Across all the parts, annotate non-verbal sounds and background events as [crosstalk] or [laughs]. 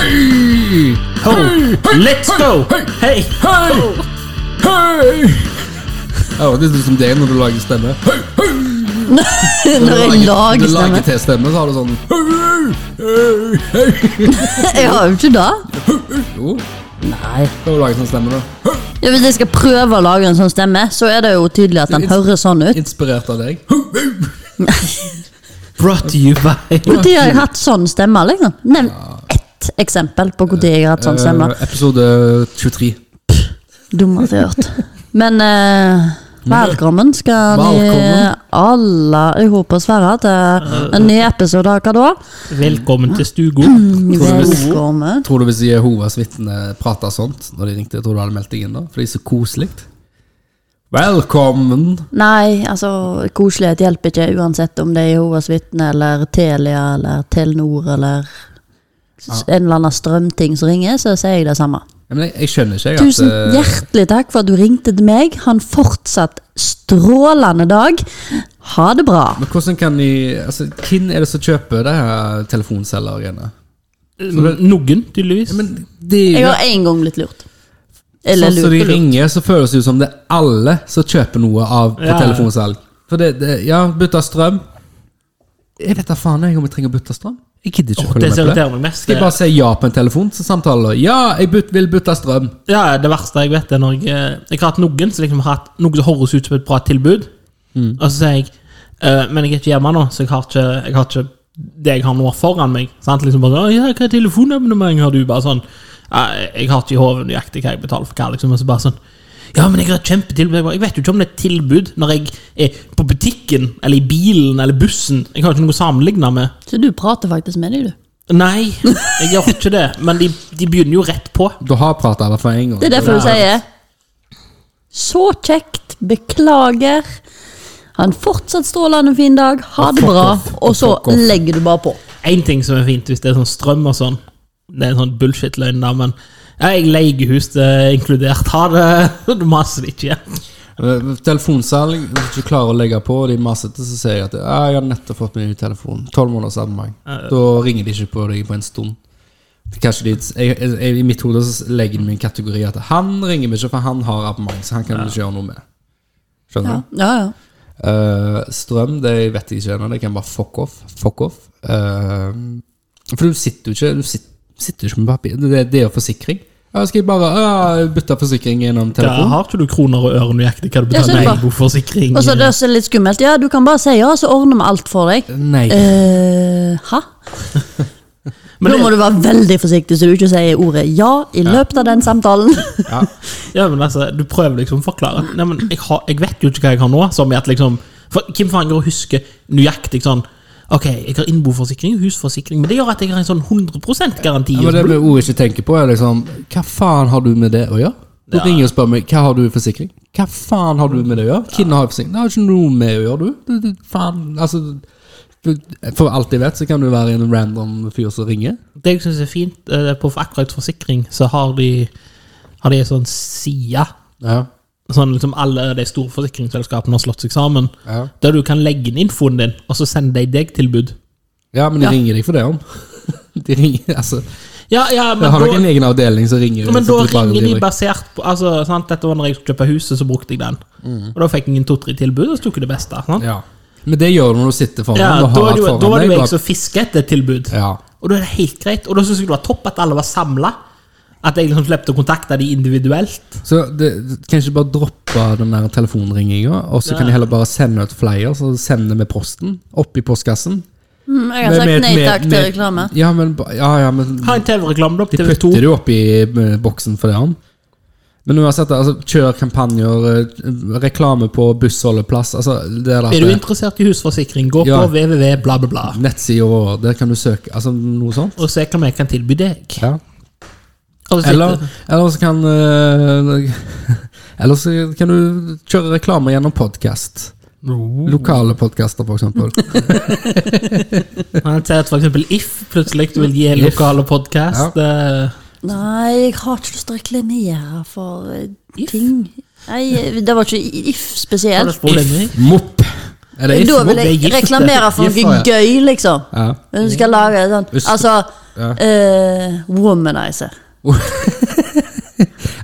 Ho, let's go! Hei! Ja, det er som det når du lager stemme. Når jeg lager Du lager stemme. T-stemme, så har du sånn [laughs] Jeg har jo ikke det. Jo, Nei. kan du lage sånn stemme, da? Ja, hvis jeg skal prøve å lage en sånn stemme, så er det jo tydelig at den høres sånn ut. Inspirert av deg. Brought to you by Når har jeg hatt sånn stemme, liksom? Nevn ett eksempel på når jeg har hatt sånn stemme. Eh, Episode 23. Dummeste jeg har hørt. Men eh, velkommen skal ni Velkommen. alle i hop og svære til en ny episode av hva da? Velkommen til stugo. Mm. Velkommen. Tror du hvis Jehovas vitner prata sånt når de ringte, tror du hadde meldt deg inn da? For det er så koselig. Velkommen! Nei, altså, koselighet hjelper ikke uansett om det er Jehovas vitne eller Telia eller Telenor eller s- en eller annen strømting som ringer, så sier jeg det samme. Ja, men jeg, jeg skjønner ikke, jeg. Tusen at, eh, hjertelig takk for at du ringte til meg. Ha en fortsatt strålende dag. Ha det bra. Men hvordan kan de altså, Hvem er det som kjøper det her telefonselgergreiene? Noen, tydeligvis. Men det er Jeg jo har én gang blitt lurt. Eller Sånn som de lurt. lurt. ringer, så føles det ut som det er alle som kjøper noe av på Ja, ja. telefonsalg. For det, det Ja, bytte strøm. Jeg vet da faen jeg om jeg trenger å bytte strøm. Jeg gidder ikke å det følge som med på det. irriterer meg mest, Skal jeg bare si ja på en telefon, så samtaler Ja, jeg byt, vil bytte strøm. ja, det verste jeg vet, er når jeg, eh, jeg har hatt noen som liksom har hatt noe som høres ut som et bra tilbud, og så sier jeg eh, Men jeg er ikke hjemme nå, så jeg har ikke, jeg har ikke det jeg har nå foran meg. Sant? Liksom bare, «Å, ja, 'Hva telefonabonnement har du?' Bare sånn. «Nei, Jeg har ikke i hodet nøyaktig hva jeg betaler for hva, liksom. Og så bare sånn ja, men jeg har et kjempetilbud. Jeg bare, Jeg vet jo ikke om det er et tilbud når jeg er på butikken, eller i bilen, eller bussen. Jeg har ikke noe å sammenligne med. Så du prater faktisk med dem, du. Nei, jeg gjør ikke det. Men de, de begynner jo rett på. Du har prata i hvert fall én gang. Det er derfor du Ja. sier Så kjekt, beklager. Ha en fortsatt strålende fin dag. Ha Og det fuck bra. off, og Og så fuck off. legger du bare på. Én ting som er fint hvis det er sånn strøm og sånn, det er en sånn bullshit-løgn der, men ja, jeg leiehus det er inkludert. Ha det! [laughs] Du maser det ikke igjen. Eh, Telefonsalg, hvis du ikke klarer å legge på, og de masete, så sier jeg at «Ja, jeg har nettopp fått meg ny telefon. 12 måneders abonnement. Da ringer de ikke på deg på en stund. Kanskje de, jeg, jeg, I mitt hode så legger de meg i en kategori at han ringer meg ikke, for han har abonnement, så han kan du ikke gjøre noe med. Skjønner Ja, du? ja. ja. Eh, strøm, det vet jeg ikke ennå. Det kan bare fuck off. Fuck off. Eh, for du sitter jo ikke Du sitter, sitter jo ikke med papir. Det, det er jo forsikring. Ja, skal jeg bare ja, bytte forsikring gjennom Da telefon? har ikke du kroner og øre nøyaktig hva du Ja, så er betaler det i bare- boforsikring. Og så er det også litt skummelt. Ja, du kan bare si ja, så ordner vi alt for deg. Nei. Eh, [laughs] hæ? Men Nå må det, du være veldig forsiktig så du ikke sier ordet ja i løpet av den [laughs] samtalen. Ja. ja, men altså, du prøver liksom å forklare. Nei, men jeg, har, jeg vet jo ikke hva jeg har nå. Som i at liksom for, Hvem faen går og husker nøyaktig sånn Ok, jeg har innboforsikring og husforsikring, men det gjør at jeg har en sånn 100 garanti. Ja, men det blir ordet jeg ikke tenker på, er liksom Hva faen har du med det å gjøre? Du Ja. ringer og spør meg hva har du i forsikring. Hva faen har du med det å gjøre? Hvem har forsikring? Det har ikke noe med å gjøre, du. du, du faen, altså du, For alt jeg vet, så kan du være en random fyr som ringer. Det jeg syns er fint, eh, på akkurat forsikring, så har de Har de en sånn side Ja. Sånn liksom alle de store forsikringsselskapene har slått seg sammen. Ja. Der du kan legge inn infoen din, og så sender de deg tilbud. men de Ja. ringer deg for det, om. [laughs] De ringer, altså Ja, ja, men, Har dere en da, egen avdeling som ringer? men da så du bare ringer de driver- basert på altså, sant? Dette var når jeg skulle kjøpe huset, så brukte jeg den. Og da fikk jeg en to-tre tilbud, og så tok jeg det beste. Sant? Ja, Ja. Men det gjør du når du sitter foran og da, har er alt det jo- foran da var det deg, jo bare- jeg som fisket etter et tilbud. Ja. Og da er det helt greit. Og da syns jeg det var topp at alle var samla. At jeg liksom slapp å kontakte de individuelt. Så det, kan ikke bare droppe den der telefonringinga, og så kan de heller bare sende ut flyer, så sender vi posten opp i postkassen. Mm, Jeg har Med- sagt med- nei med- takk til med- reklame. Ja, men, ba- ja, ja, men Ha en TV-reklame, da. på de TV 2. putter det jo opp i eh, boksen for det. han. Men uansett, altså, kjør kampanjer, eh, reklame på bussholdeplass altså, det der, at Er du det- interessert i husforsikring, gå Ja. på www, bla, bla, bla. Nettsider vår, der kan du søke altså, noe sånt. Og se hva vi kan tilby deg. Ja. Og så sitter- Eller, eller så kan eh, [laughs] Eller så kan du kjøre reklame gjennom podkast. Lokale podkaster, for [laughs] eksempel. Han sier at for eksempel If plutselig du vil gi en If. lokal eh, podkast. Nei, jeg har ikke lyst til å reklamere for eh, ting. Nei, det var ikke if spesielt. If. Mopp. Eller Da Ifo. vil det er jeg Gif- reklamere for Gif, ja. noe gøy, liksom. Ja. Hun skal lage sånn Hvis- Altså Ja. eh, Womanizer. ja,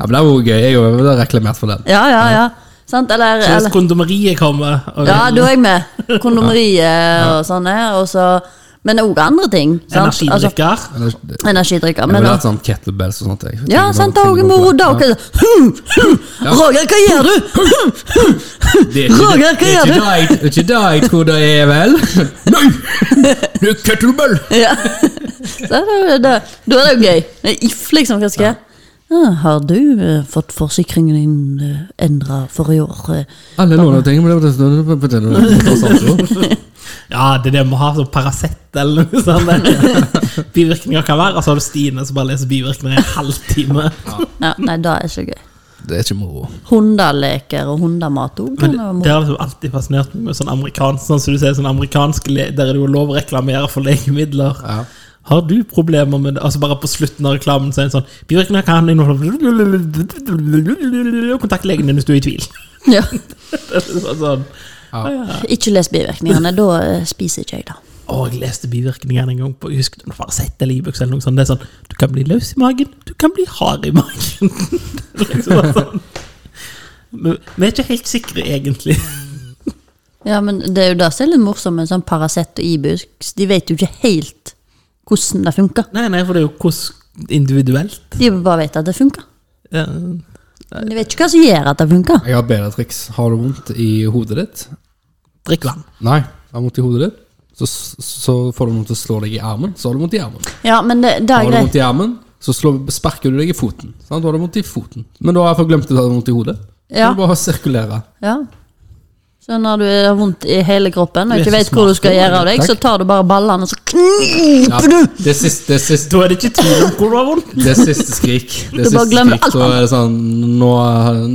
men det er jo gøy. Jeg har jo reklamert for den. Ja, ja, ja. Sant, eller, Hvis eller kondomeriet kommer og Ja, da er jeg med. Kondomeriet og sånn her. Og så, men òg andre ting. Sant? Altså, energidrikker Eller, det, energidrikker. jeg Men, ville hatt sånn kettlebells og sånt. Jeg. ja, Tenker sant, bare- det er òg tenker moro. bare på da, [laughs] det. ok. Hm, hm, Roger, hva gjør du? Det er ikke- Roger, hva det er gjør ikke du? det jeg- Det er ikke det jeg tror det er, [laughs] vel? Nei! Det er kettlebell! Ja. [laughs] Så er det- det- Da er det jo gøy. Det er If, liksom. Hva skal jeg? Ja, har du eh, fått forsikringen din eh, endra for i år? eh? Alle låner ting, men det er- det er- det er- det er- Ja, det er det vi har. sånn Paracet eller noe sånt. [laughs] der. Bivirkninger kan være. Og så har du Stine som bare leser bivirkninger i en halvtime. Ja, nei, det er ikke gøy. Det er ikke moro. Hundeleker og hundemat òg Men kan være det moro. har liksom alltid fascinert meg med sånn amerikansk Sånn som du sier, sånn amerikansk le- Der er det jo lov å reklamere for [laughs] legemidler. Ja. Har du problemer med det? Altså Bare på slutten av reklamen så er det sånn Bivirkninger kan [laughs] inneholde Kontakt legen din hvis du er i tvil. [laughs] Ja. Det er sånn, sånn. Ikke les bivirkningene, da eh, spiser ikke jeg det. Å, jeg leste bivirkningene en gang på jeg husker, det var Paracet eller Ibux eller noe sånt. Det er sånn Du kan bli løs i magen, du kan bli hard i magen. [laughs] Det er liksom bare sånn. Men Vi er ikke helt sikre, egentlig. [laughs] Ja, men det er jo det som er litt morsomt med sånn Paracet og Ibux. De vet jo ikke helt hvordan det funker. Nei, nei, for det er jo hvordan individuelt. De bare vet at det funker. Ja. Men de vet ikke hva som gjør at det funker. Jeg har et bedre triks. Har du vondt i hodet ditt? Drikk vann. Nei. Har du vondt i hodet ditt? Så, så får du vondt til å slå deg i armen. Så har du vondt i armen. Ja, men det, det Har er du vondt greit. i armen, så slår, sparker du deg i foten. Sant? Da har du vondt i foten. Men da har jeg fått glemt at du har vondt i hodet. Så Ja. du bare sirkulere. Ja. Så når du har vondt i hele kroppen Du og er ikke så vet hvor du smart, skal du, gjøre av deg, takk. så tar du bare ballene og så Ja, kniper du! det er siste, det er siste Da er det ikke tvil om hvor du har vondt. Det er siste skrik. Det [laughs] er Du bare siste glemmer skrik, alt Så er det sånn Nå,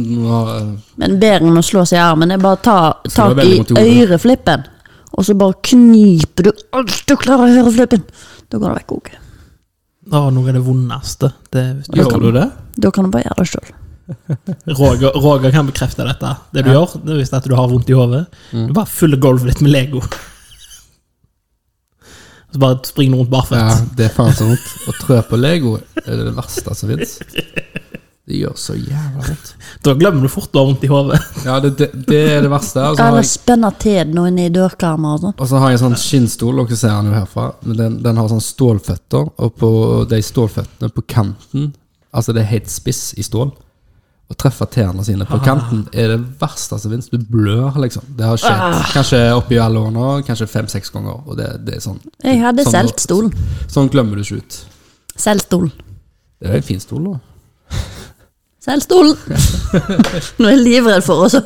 nå Men bedre enn å slå seg i armen er bare å ta det var tak i veldig vondt i hodet. øreflippen, og så bare kniper du alt du klarer å høre flippen. Da går det vekk òg. Å, noe av det vondeste. Det er hvis du Gjør du det? Da kan du bare gjøre det sjøl. Altså, Roger, Roger kan bekrefte dette. Det du gjør, det er hvis at du har vondt i hodet. Mm. Du bare fyller gulvet ditt med Lego. Så bare springer du rundt barføtt. Ja, det er faen så vondt. Å trø på Lego er det verste som fins. Det gjør så jævla vondt. Da glemmer du fort du har vondt i hodet. Ja, det, det, det er det verste. Og så har Eller jeg, spenne til noe inne i dørkarmer og sånn. og så har jeg en sånn skinnstol, dere ser den jo herfra. Men den, den har sånn stålføtter, og på de stålføttene på kanten Altså, det er helt spiss i stål. Å treffe tærne sine på kanten er det verste som fins. Du blør, liksom. Det har skjedd kanskje oppi alle år nå, kanskje fem-seks ganger. Og det, det er sånn Jeg hadde sånn- solgt stolen. Sånn glemmer du ikke ut. Solgt stolen. Det er jo en fin stol, da. Selg stolen! [laughs] Nå er jeg livredd for også.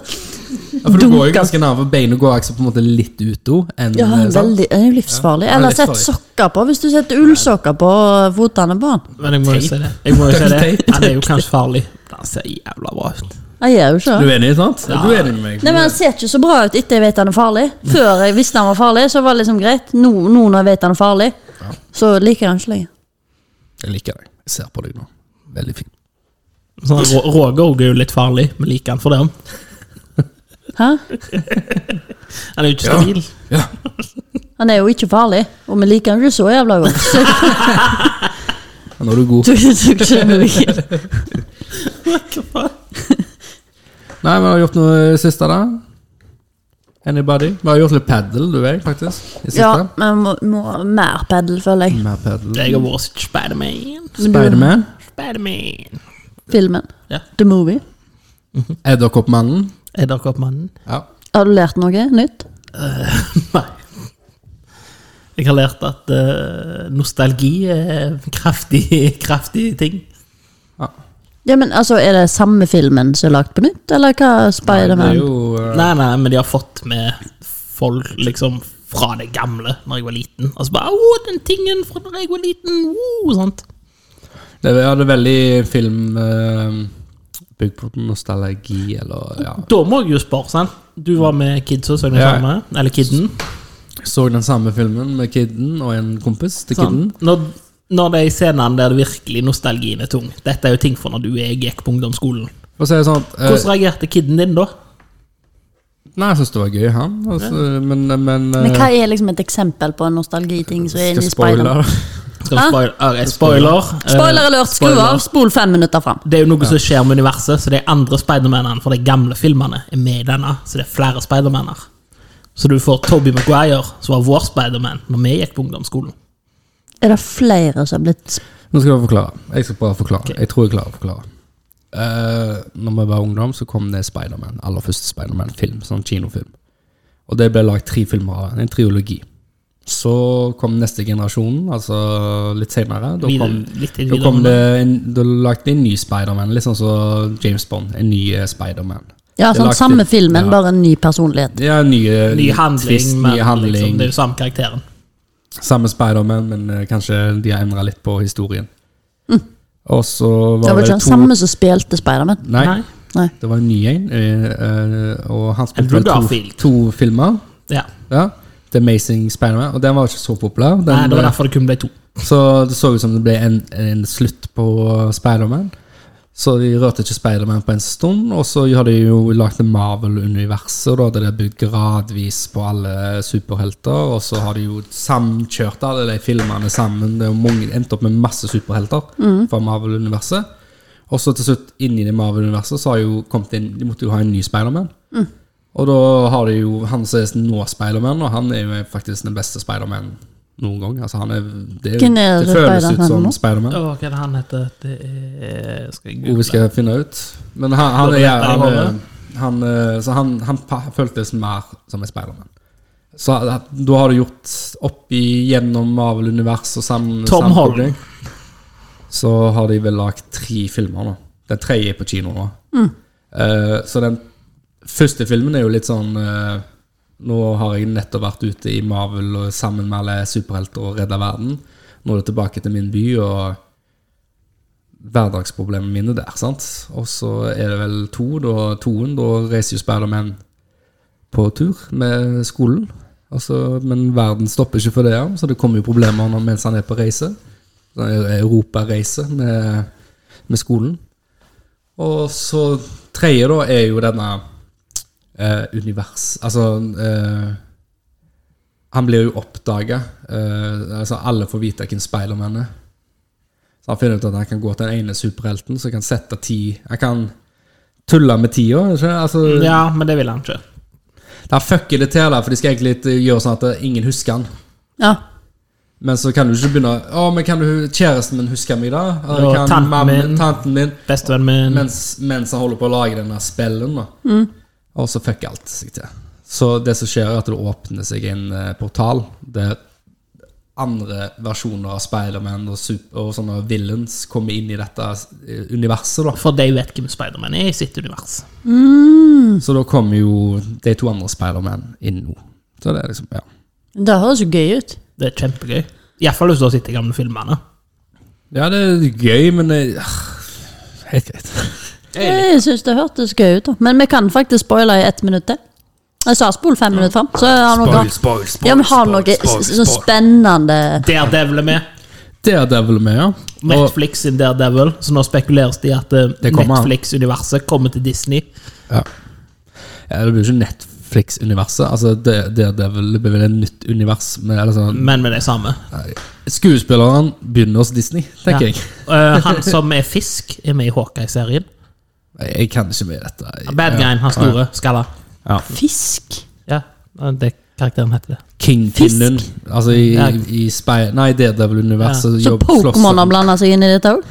Ja, for du går jo Dunker. ganske nærme, for beina går liksom på en måte litt ut eh, òg. Ja, veldig, det er jo livsfarlig. Ja, det er Eller sett livsfarlig. sokker på, hvis du setter ullsokker på fotene på den. Men jeg må jo si det. Jeg må jo si det. Han er jo kanskje farlig. Han ser jævla bra ut. Jeg gjør jo ikke Du det. er enig, sant? Ja. Du er enig med meg. Nei, men Han ser ikke så bra ut etter jeg vet han er farlig. Før jeg visste han var farlig, så var det liksom greit. Nå, nå når jeg vet han er farlig, så liker jeg han ikke lenger. Jeg liker deg. Jeg ser på deg nå. Veldig fin. Sånn, Ro- Roger også er jo litt farlig, men liker han for det. Hæ? Han er jo ikke [laughs] stabil. Ja. Han er jo ikke farlig, og vi liker han ikke så jævla godt. Så Nå er du god. [laughs] du, du skjønner jo ikke. Nei, vi har gjort noe i det siste, da. Anybody? Vi har gjort litt padel, du vet, faktisk. I det Ja, siste. men må, må mer pedel, føler jeg. Mer padel. Jeg har vært Spiderman. Spiderman. Spiderman. Filmen. Ja. The Movie. Edderkoppmannen. Edderkoppmannen. Ja. Har du lært noe nytt? Nei. Jeg har lært at eh, nostalgi er en kraftig, [laughs] kraftig ting. ja. Ja, men altså, Er det samme filmen som er lagt på nytt, eller hva? Det er Spiderman? jo eh, Nei, nei, men de har fått med folk liksom fra det gamle, når jeg var liten. Og så bare 'Å, den tingen fra da jeg var liten!' Oh, sant? Det er ja, det er veldig film eh, Bygd på nostalgi, eller ja. Da må jeg jo spørre, sant? Du var med kidsa, så den Ja. samme? Eller kidden? Så den samme filmen med Kidden og en kompis til Sånn. Kidden. Sant? Når, når det er i scenene der det virkelig nostalgien er tung Dette er jo ting fra når du og jeg gikk på ungdomsskolen. Og så er det sånn at eh, Hvordan reagerte kidden din da? Nei, jeg syns det var gøy, han. Altså, Men, men, Mm. eh, Men hva er liksom et eksempel på en nostalgiting som er inne i Spiderman? spoiler? Skal Hæ? spoil, er det spoiler. Eh, Spoiler alert, skru spoiler. av, spol fem minutter fram. Det er jo noe som skjer med universet, så de andre Spidermanene fra de gamle filmene er med i denne. Så det er flere Spidermaner. Så du får Toby Maguire, som var vår Spiderman når vi gikk på ungdomsskolen. Er det flere som har blitt Nå skal jeg forklare. Jeg skal bare forklare. Jeg tror jeg klarer å forklare. Uh, når vi var ungdom, så kom det Spiderman. Aller første Spiderman-film. Sånn kinofilm. Og det ble lagd tre filmer av. En triologi. Så kom neste generasjon, altså litt senere. Da Videre- kom, litt da kom videre- det en, da lagde de en ny Spiderman, litt sånn som James Bond. En ny eh, Spiderman. Ja, Det sånn lagde- samme filmen, ja. bare en ny personlighet. Ja, nye, Ny handling, twist, men ny handling. Liksom, det er jo samme karakteren. Samme Spiderman, men eh, kanskje de har endra litt på historien. Mm. Og så var Det det, var ikke den to samme som spilte Spiderman. Nei, Nei. Nei. det var en ny en. eh, eh, Og han spilte Andrew vel to, Garfield. to filmer. Ja. Ja. The Amazing Spiderman. Og den var ikke så populær. Den, Nei, det var derfor det kun ble to. Så det så ut som det ble en, en slutt på Spiderman. Så de rørte ikke Spiderman på en stund. Og så har de jo lagd Marvel-universet, da, der det er bygd gradvis på alle superhelter. Og så har de jo samkjørt alle de filmene sammen. Det er jo mange, endt opp med masse superhelter Mm. fra Marvel-universet. Og så til slutt, inni det Marvel-universet, så har jo kommet inn De måtte jo ha en ny Spiderman. Mm. Og da har de jo han som er nå Spiderman, og han er jo faktisk den beste Spiderman noen gang. Altså, han er, det, er jo- Hvem er det føles ut Spider-Man nå? som Spiderman. Å, hva er det han heter? Det er Skal jeg Hvor vi skal finne ut. Men han, han, er, Rett der i han, er- hodet. han, er- så han, han pa- føltes mer som en Spiderman. Så at- da har du gjort opp igjennom Marvel-universet og sammen Tom sammen- Holland. Så har de vel lagd tre filmer nå. Den tredje er på kino nå. Mm. Eh, så den første filmen er jo litt sånn eh, Nå har jeg nettopp vært ute i Marvel og sammen med alle superhelter og redda verden. Nå er det tilbake til min by og hverdagsproblemene mine der. sant? Og så er det vel to, da toen. Da reiser jo Spiderman på tur med skolen. Og så- men verden stopper ikke for det, ja. så det kommer jo problemer når- mens han er på reise. Sånn Europareise med, med skolen. Og så tredje, da, er jo denne eh, univers... Altså eh, Han blir jo oppdaga. Eh, altså alle får vite hvem Spiderman er. Så han finner ut at han kan gå til den ene superhelten som kan sette ti Han kan tulle med tida. ikke? Altså, Ja, men det vil han ikke. de fucker det til, da, for de skal egentlig ikke gjøre sånn at ingen husker han. Ja. Men så kan du ikke begynne Å, men kan du kjæresten min huske meg, da? Eller Ja, kan tanten mammen- min. Mm. tanten din Bestevennen min mens, mens han holder på å lage denne spellen, da. Og så fucker alt seg til. Så det som skjer, er at det åpner seg en eh, portal der andre versjoner av Spiderman og, sup- og sånne villains kommer inn i dette eh, universet, da. For de vet hvem Spiderman er i sitt univers. Så da kommer jo de to andre Spiderman inn nå. Så det er liksom, ja. Det høres jo gøy ut. Det er kjempegøy. Iallfall hvis du har sett de gamle filmene. Ja, det er gøy, men det, Helt greit. Jeg syns det hørtes gøy ut, da. Men vi kan faktisk spoile i ett minutt til. Jeg sa spol fem minutter fram, så har noe spoil, spoil, Ja, men har noe s- sånn spennende Daredevil er med. Daredevil med, ja. Og, Netflix sin Daredevil, så nå spekuleres det i at eh, Det kommer. Netflix-universet kommer til Disney. ja. ja. Det blir jo ikke Netflix-universet. Altså, Da- Daredevil det blir vel et nytt univers. Med, eller sånn. Men med det samme. Skuespilleren begynner hos Disney, tenker Ja. jeg. Eh, han som er fisk, er med i Hawkeye-serien. Jeg kan ikke med dette. Jeg, Bad guy, han store, skalla. Ja. fisk. Ja, det karakteren heter det. Kingpinnen. Altså i, Ja. i Spy... Nei, Daredevil-universet. Så jobb- Pokémon har slåss- blanda seg inn i dette òg?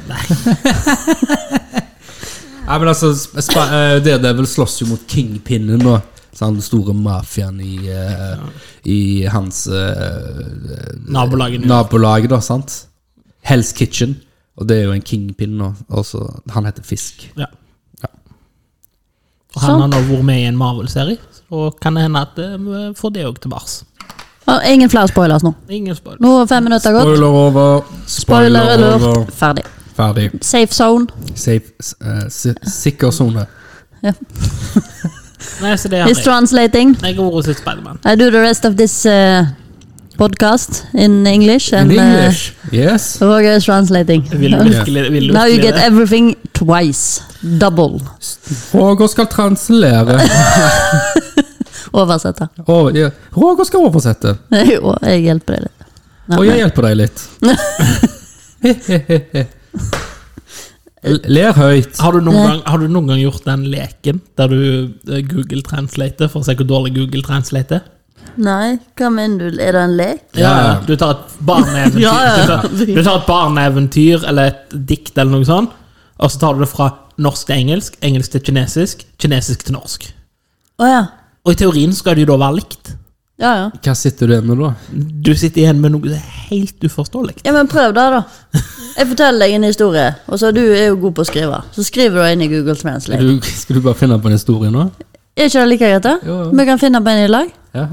Nei, men altså, Sp- Sp- eh, Daredevil slåss jo mot Kingpinnen nå. Så han store mafiaen i, eh, i hans eh, Nabolaget nå. nabolaget, da, sant? Hell's Kitchen. Og det er jo en kingpin nå. og så- han heter Fisk. Ja. Og han Sånn. har nå vært med i en Marvel-serie, og kan det hende at eh, vi får det òg til Mars. Ingen flere spoilers nå. Ingen spoil. Nå er fem minutter gått. Spoiler over. Spoiler alert. Ferdig. Ferdig. Safe zone. Safe, eh, si- sikker sone. Nei, så det har Is jeg. translating. Jeg har vært sitt Spiderman. I do the rest of this uh, podcast in English. In And, uh, English. Yes. Roger is translating. Vil du virkelig, vil du Now you virkelig get det? everything twice. Double. Roger skal translere. Oversette. [laughs] Å, ja. Roger skal oversette, Jo, jeg hjelper deg litt. Nei, og jeg hjelper deg litt. L- [laughs] Ler høyt. Har du, noen gang, har du noen gang gjort den leken der du eh, Google translater for å se hvor dårlig Google translater? Nei, hva mener du? Er det en lek? Ja, ja. Du tar et barneeventyr, Ja, ja, ja. Du, tar, du tar et barneeventyr eller et dikt eller noe sånt, og så tar du det fra norsk til engelsk, engelsk til kinesisk, kinesisk til norsk. Å ja. Og i teorien skal det jo da være likt. Ja, ja. Hva sitter du igjen med da? Du sitter igjen med noe som er helt uforståelig. Ja, men prøv det, da. Jeg forteller deg en historie, og så du er jo god på å skrive. Så skriver du inn i Google Skal Translate. du, skal du bare finne på en historie nå? Er ikke det like greit, da? Jo, jo. Vi kan finne på en i lag. Ja.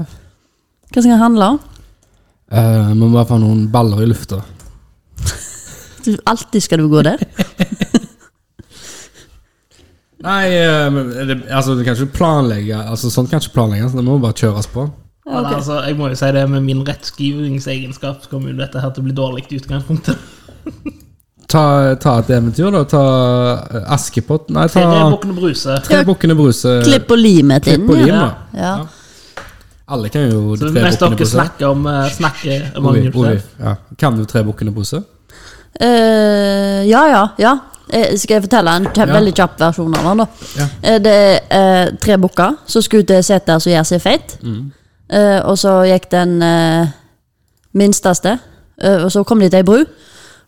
Hva skal den handle om? Eh, vi må bare få noen baller i lufta. Du, alltid skal du gå der. Nei, eh, men er det, altså, du kan ikke planlegge Altså, Sånt kan ikke planlegges. Det må bare kjøres på. Men altså, jeg må jo si det, med min rettskrivningsegenskap så kommer jo dette her til å bli dårlig i utgangspunktet. Ta, ta et eventyr, da. Ta eh, Askepott Nei, ta Tre bukkene Bruse. Tre bukkene Bruse. Klipp og lim et inn. Klipp og lim, ja. da. Ja. Alle kan jo Så Tre mens bukkene dere Bruse. snakker om eh, snakker om Ovi, Magnus Ovi, selv. ja. Kan du Tre bukkene Bruse? Eh, ja, ja, ja. Eh, Skal jeg fortelle en kjapp, Ja. veldig kjapp versjon av den? da? Ja. Eh, Det er eh, tre bukker som skal ut til seter som gjør seg feit. Mm. Eh, og så gikk den eh, minsteste, eh, og så kom de til ei bru.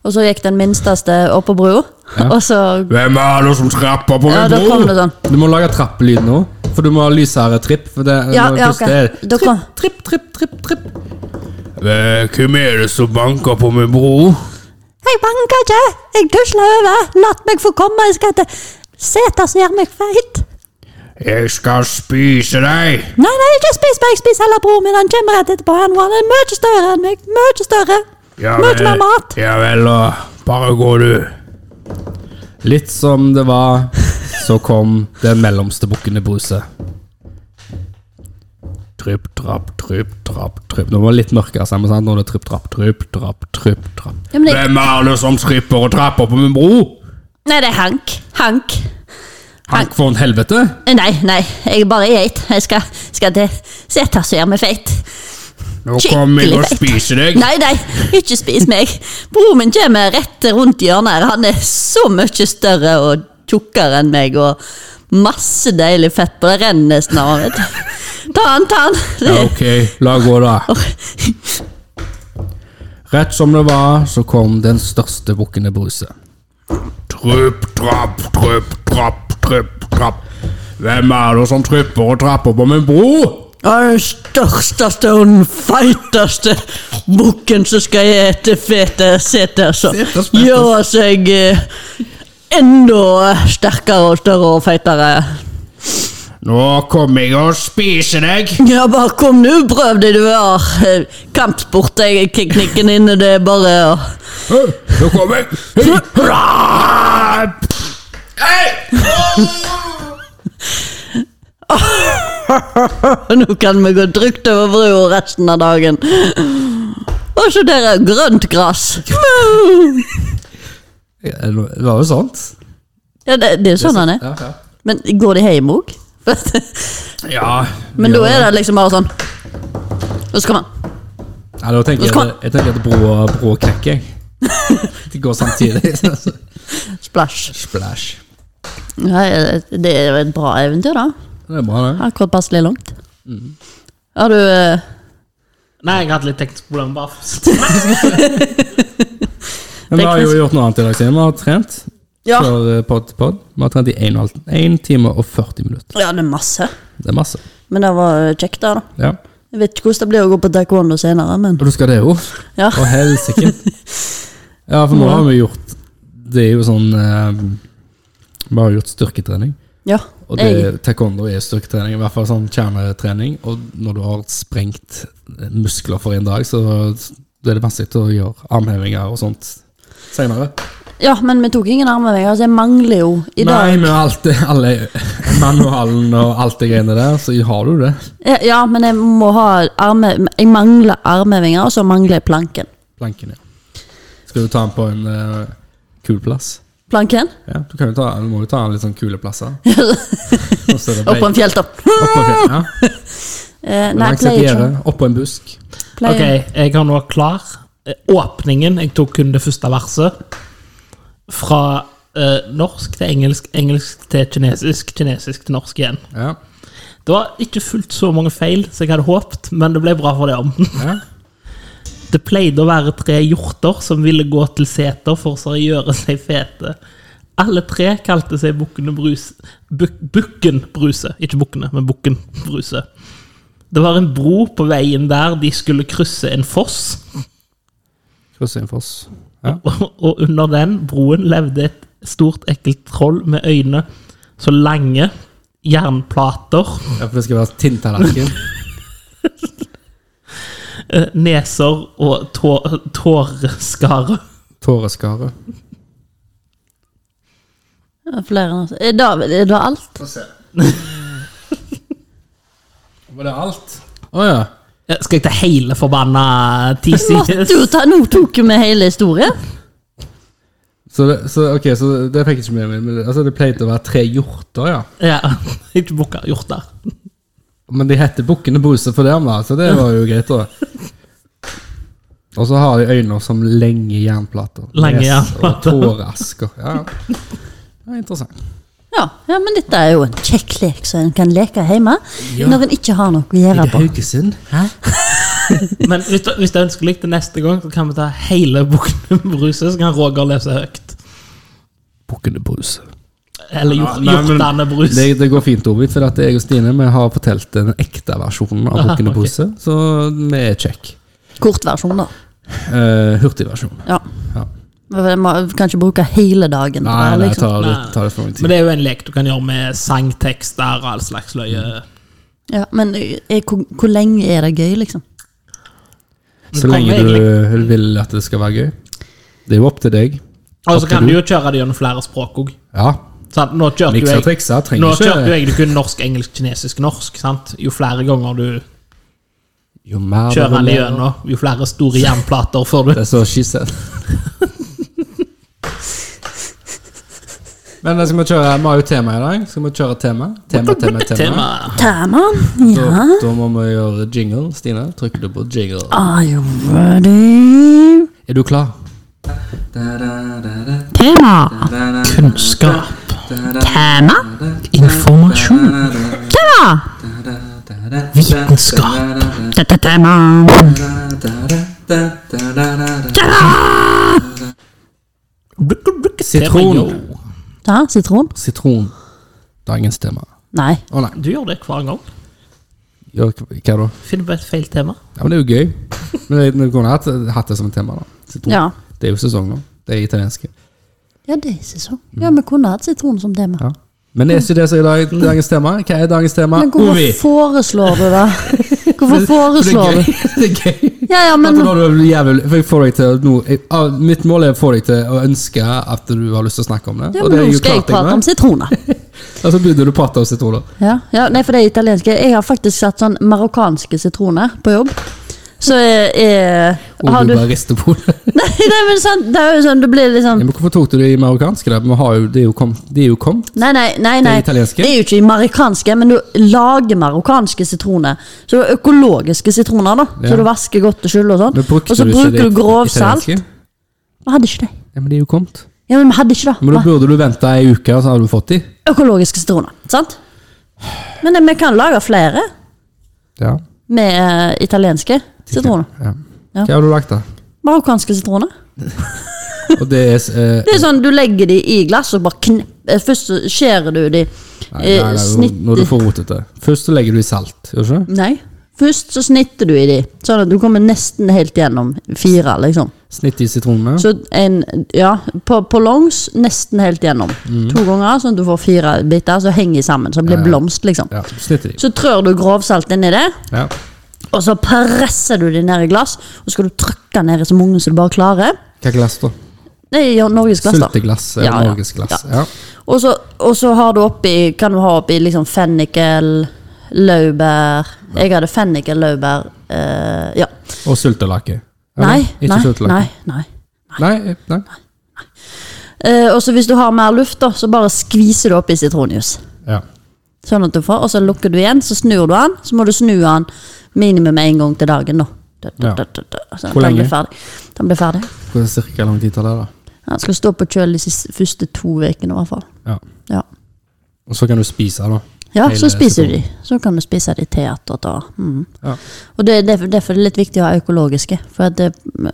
Og så gikk den minsteste opp på brua, Ja. [laughs] og så Hvem er det som trapper på Ja, da kom det sånn. Du må lage trappelyd nå, for du må ha lysere tripp. For det, Ja, når ja, først ok. det er Da kom- Tripp, tripp, tripp, tripp. tripp. Hvem er det som banker på min bror? Jeg banker ikke! Jeg tusler over! Latt meg få komme! Jeg skal til seter som gjør meg feit! Jeg skal spise deg! Nei, nei, ikke spis meg! Spis heller broren min! Han kommer rett etterpå. Han han er mye større enn meg! Mye større! Ja Mye vel- mer mat! Ja vel, da. Bare gå, du. Litt som det var, så kom den mellomste bukkene Bruse. Trypp, trapp, trypp, trapp, trypp. Nå var det litt mørkere sammen, sant? Nå er det trypp, trapp, trypp, trapp, trypp, trapp. Ja, men jeg, Hvem er det som tripper og trapper på min bror? nei, det er Hank. Hank. Hank von helvete! Nei, nei, jeg bare er geit. Jeg skal, skal til seter som gjør meg feit. Nå kommer jeg og Skikkelig feit. spiser deg. Nei, nei, ikke spis meg. Broren min kommer rett rundt hjørnet her. Han er så mye større og tjukkere enn meg, og masse deilig fett på det renner nesten av ham. Ta han, ta han! Ja, [laughs] ok, la gå da. Rett som det var, så kom den største bukkene Bruse. Trypp, trapp, trypp, trapp, trypp, trapp. Hvem er det som tripper og trapper på min bror? Den største og den feiteste bukken som skal ete fete seter, som Seters, feters. gjør seg eh, enda sterkere og større og feitere. Nå kommer jeg og spiser deg. Ja, bare kom nå, prøv det du har. Eh, Kampsport er teknikken inne, det er bare å Nå kommer jeg. Hei, trapp. Hei! Nå kan vi gå trygt over brua resten av dagen. Og så der er grønt gress. Ja, Det var jo sånt. Ja, det, det er jo sånn han er. Ja, ja. Men går de hjem òg? [laughs] Ja, Men da er det liksom bare sånn. Og så kan man Ja, da tenker jeg, jeg tenker at brå, brå knekker, [laughs] jeg. Det går samtidig. Splash. Splash. Ja, det er jo et bra eventyr, da. Det er bra, det. Akkurat passelig langt. Har du eh, Nei, jeg hadde litt teknisk problem bare Men vi har jo Teknisk. gjort noe annet i dag siden. Vi har trent Ja. for eh, pod til pod. Vi har trent i 1 time og 40 minutter. Ja, det er masse. Det er masse. Men det var eh, kjekt, da. da. Ja. Jeg vet ikke hvordan det blir å gå på taekwondo senere, men Og du skal det jo. ja. Å [laughs] helsike. Ja, for nå har vi gjort Det er jo sånn eh, Vi har gjort styrketrening. ja. Og Jeg, det, taekwondo er styrketrening, i hvert fall sånn kjernetrening. Og når du har sprengt muskler for en dag, så det er det vanskelig å gjøre armhevinger og sånt senere. ja, men vi tok ingen armhevinger, så jeg mangler jo i dag. Nei, men alt det, alle [laughs] manualen og alt det greiene der, så har du det. Ja, ja, men jeg må ha arme... Jeg mangler armhevinger, og så mangler jeg planken. Planken, ja. Skal du ta den på en eh, kul plass? Planken? Ja, du, kan jo ta, du må jo ta litt sånn kule plasser. Og så er det [laughs] Opp på en fjelltopp. Oppå en fjell, ja. Eh, Nei, nei, et pleier ikke. gjerde, oppå en busk. Pleier. Ok, jeg har nå klar eh, åpningen. Jeg tok kun det første verset. Fra eh, norsk til engelsk, engelsk til kinesisk, kinesisk til norsk igjen. Ja, Det var ikke fullt så mange feil som jeg hadde håpt, men det ble bra for det om. ja. Det pleide å være tre hjorter som ville gå til seter for å gjøre seg fete. Alle tre kalte seg Bukkene Bruse. Buk bukken Bruse. Ikke Bukkene, men Bukken Bruse. Det var en bro på veien der de skulle krysse en foss. [laughs] Krysse en foss. og under den broen levde et stort, ekkelt troll med øyne så lange jernplater, Ja, for det skal være tinntallerken. eh, neser og tå- tåreskare. Tåreskare. Ja, Flere enn oss. Eh, David, er det alt? Få se. Var det alt? Å ja. Ja, Eh, Skal jeg ta hele forbanna ti sider? Måtte jo ta, nå tok jo vi hele historien. Så det, så, ok, så det fikk jeg ikke med meg. Men det, altså, det pleide å være tre hjorter, ja. Ja, [laughs] ikke bukker, hjorter. Men de heter Bukkene Bruse for dem, da, så det var jo greit, da. Og så har de øyne som lenge jernplater. Lange Nes jernplater. Og tåreasker. Ja, ja. Det er interessant. Ja, ja, men dette er jo en kjekk lek som en kan leke hjemme når en ikke har noe å gjøre på. Haugesund? Men hvis du, hvis du ønsker likt til neste gang, så kan vi ta hele bukken [laughs] med bruse, så kan Roger lese høyt. Bukkene Bruse. Eller hjort, Nei, men- hjortene brus. Det, det går fint, Ovid, for at jeg og Stine vi har fortalt den ekte versjonen av Aha, Bukkene ok. Bruse, så vi er kjekk. Kortversjon, da. Uh, Hurtigversjon. Ja. Ja. Vi må- vi kan ikke bruke hele dagen. på Nei, det, nei, liksom. tar det, Nei. tar det for mye Men tid. det er jo en lek du kan gjøre med sangtekster og all slags løye. Mm. Ja, men eh, er, hvor, hvor lenge er det gøy, liksom? Så lenge du vil at det skal være gøy. Det er jo opp til deg. Og så opp til du. kan du jo kjøre det gjennom flere språk òg. Ja. Nå Miksa kjørte jo og jeg, triksa. nå Trenger kjørte jo ikke jeg det kun norsk, engelsk, kinesisk, norsk. sant? Jo flere ganger du Jo mer du kjører det vil. gjennom, jo flere store jernplater får du. Det er så she said. Men da skal vi kjøre Vi har jo tema i dag. Skal vi kjøre tema? Tema, tema, tema. Tema. Taman? Da, Ja. da må vi gjøre jingle. Stine, trykker du på jingle? Are you ready? Er du klar? Tema. Kunnskap. Tema. Informasjon. Tema. Vitenskap. Dette tema. Sitron. Ja, sitron? Sitron. Dagens tema. Nei. Å nei. Du gjør det hver gang. Gjør hva hva da? Finner på et feil tema. Ja, men det er jo gøy. Men jeg- Vi kunne hatt, eh, hatt det som et tema, da. Sitron. Ja. Det er jo sesong nå. Det er italienske. ja, det er sesong. Ja, vi kunne hatt sitron som tema. Ja. Men det er ikke det som er dag, dagens tema. Hva er dagens tema? Men hvorfor Ovi. foreslår du det? [laughs] Hvorfor Det er foreslår du gøy. [laughs] Det er gøy. Ja, ja, At men du har jævlig, for jeg får deg til nå, jeg, ah, mitt mål er å få deg til å ønske at du har lyst til å snakke om det. ja, og men det er nå jo skal jeg klart prate om med. sitroner. Og så begynner du å prate om sitroner. [laughs] Ja, ja, nei, for det er italienske. Jeg har faktisk sett sånn marokkanske sitroner på jobb. Så er, er Og Har du du bare rister på [laughs] hodet. [laughs] Nei, nei men sant, det er jo sånn, det blir Ja, liksom men hvorfor tok du det i marokkansk? da? Vi har jo, det er jo kommet. Det er jo kommet. Nei, nei, nei. nei. Det er italienske? Det er jo ikke marokkanske, men du lager marokkanske sitroner. Så det er økologiske sitroner, da. Ja. Så du vasker godt og skyller og sånn. Men brukte Og så du ikke det bruker du i- grovsalt. italienske? Vi hadde ikke det. Ja, men det er jo kommet. Ja, men vi hadde ikke det. Men da burde du vente ei uke, og så har du fått de. Økologiske sitroner, sant? Men eh, vi kan lage flere Ja. med eh, italienske sitroner. ja. Ja. Hva har du lagt, da? Marokkanske sitroner. Og det er [laughs] eh, Det er sånn, du legger de i glass og bare kn... eh, Først så skjærer du de Nei, nei, eh, nei, snitt- nå- når du får rotete. Først så legger du i salt, gjør du ikke? Nei. Først så snitter du i de, sånn at du kommer nesten helt gjennom fire, liksom. Snitt i sitronene. Så en, ja, på, på longs nesten helt gjennom. To ganger, sånn at du får fire biter, så henger de sammen, så det blir blomst, liksom. Mm. Ja, snitt i de. Så trør du grovsalt inni det, Ja. og så presser du de ned i glass, og så skal du trykke ned i så mange som du bare klarer. Hva glass, da? Nei, ja, norgesglass, da. Sulteglass. Ja, Ja, ja. Norgesglass. Ja. Ja. Og så, og så har du oppi, kan du ha oppi liksom fennikel, laurbær Jeg hadde fennikel, laurbær eh, Ja. Og sultelake. Nei, Ikke eh, nei, sultelake. nei. nei. Nei, nei. Eh, og så hvis du har mer luft, da, så bare skviser du opp i sitronjuice. Ja. Sånn at du får, og så lukker du igjen, så snur du den. Så må du snu den minimum én gang til dagen. da. Da, da, Ja. da, da, da. Sånn at Hvor den lenge? blir ferdig. Den blir ferdig. Hvor cirka lang tid tar det, da? Den skal stå på kjøl de siste, første to ukene, i hvert fall. Ja. Ja, Og så kan du spise, da. ja Hele så spiser du sesongen. de. Så kan du spise de teatret. da. Mm. Ja. Og det, er derfor, derfor er det litt viktig å ha økologiske. For at det,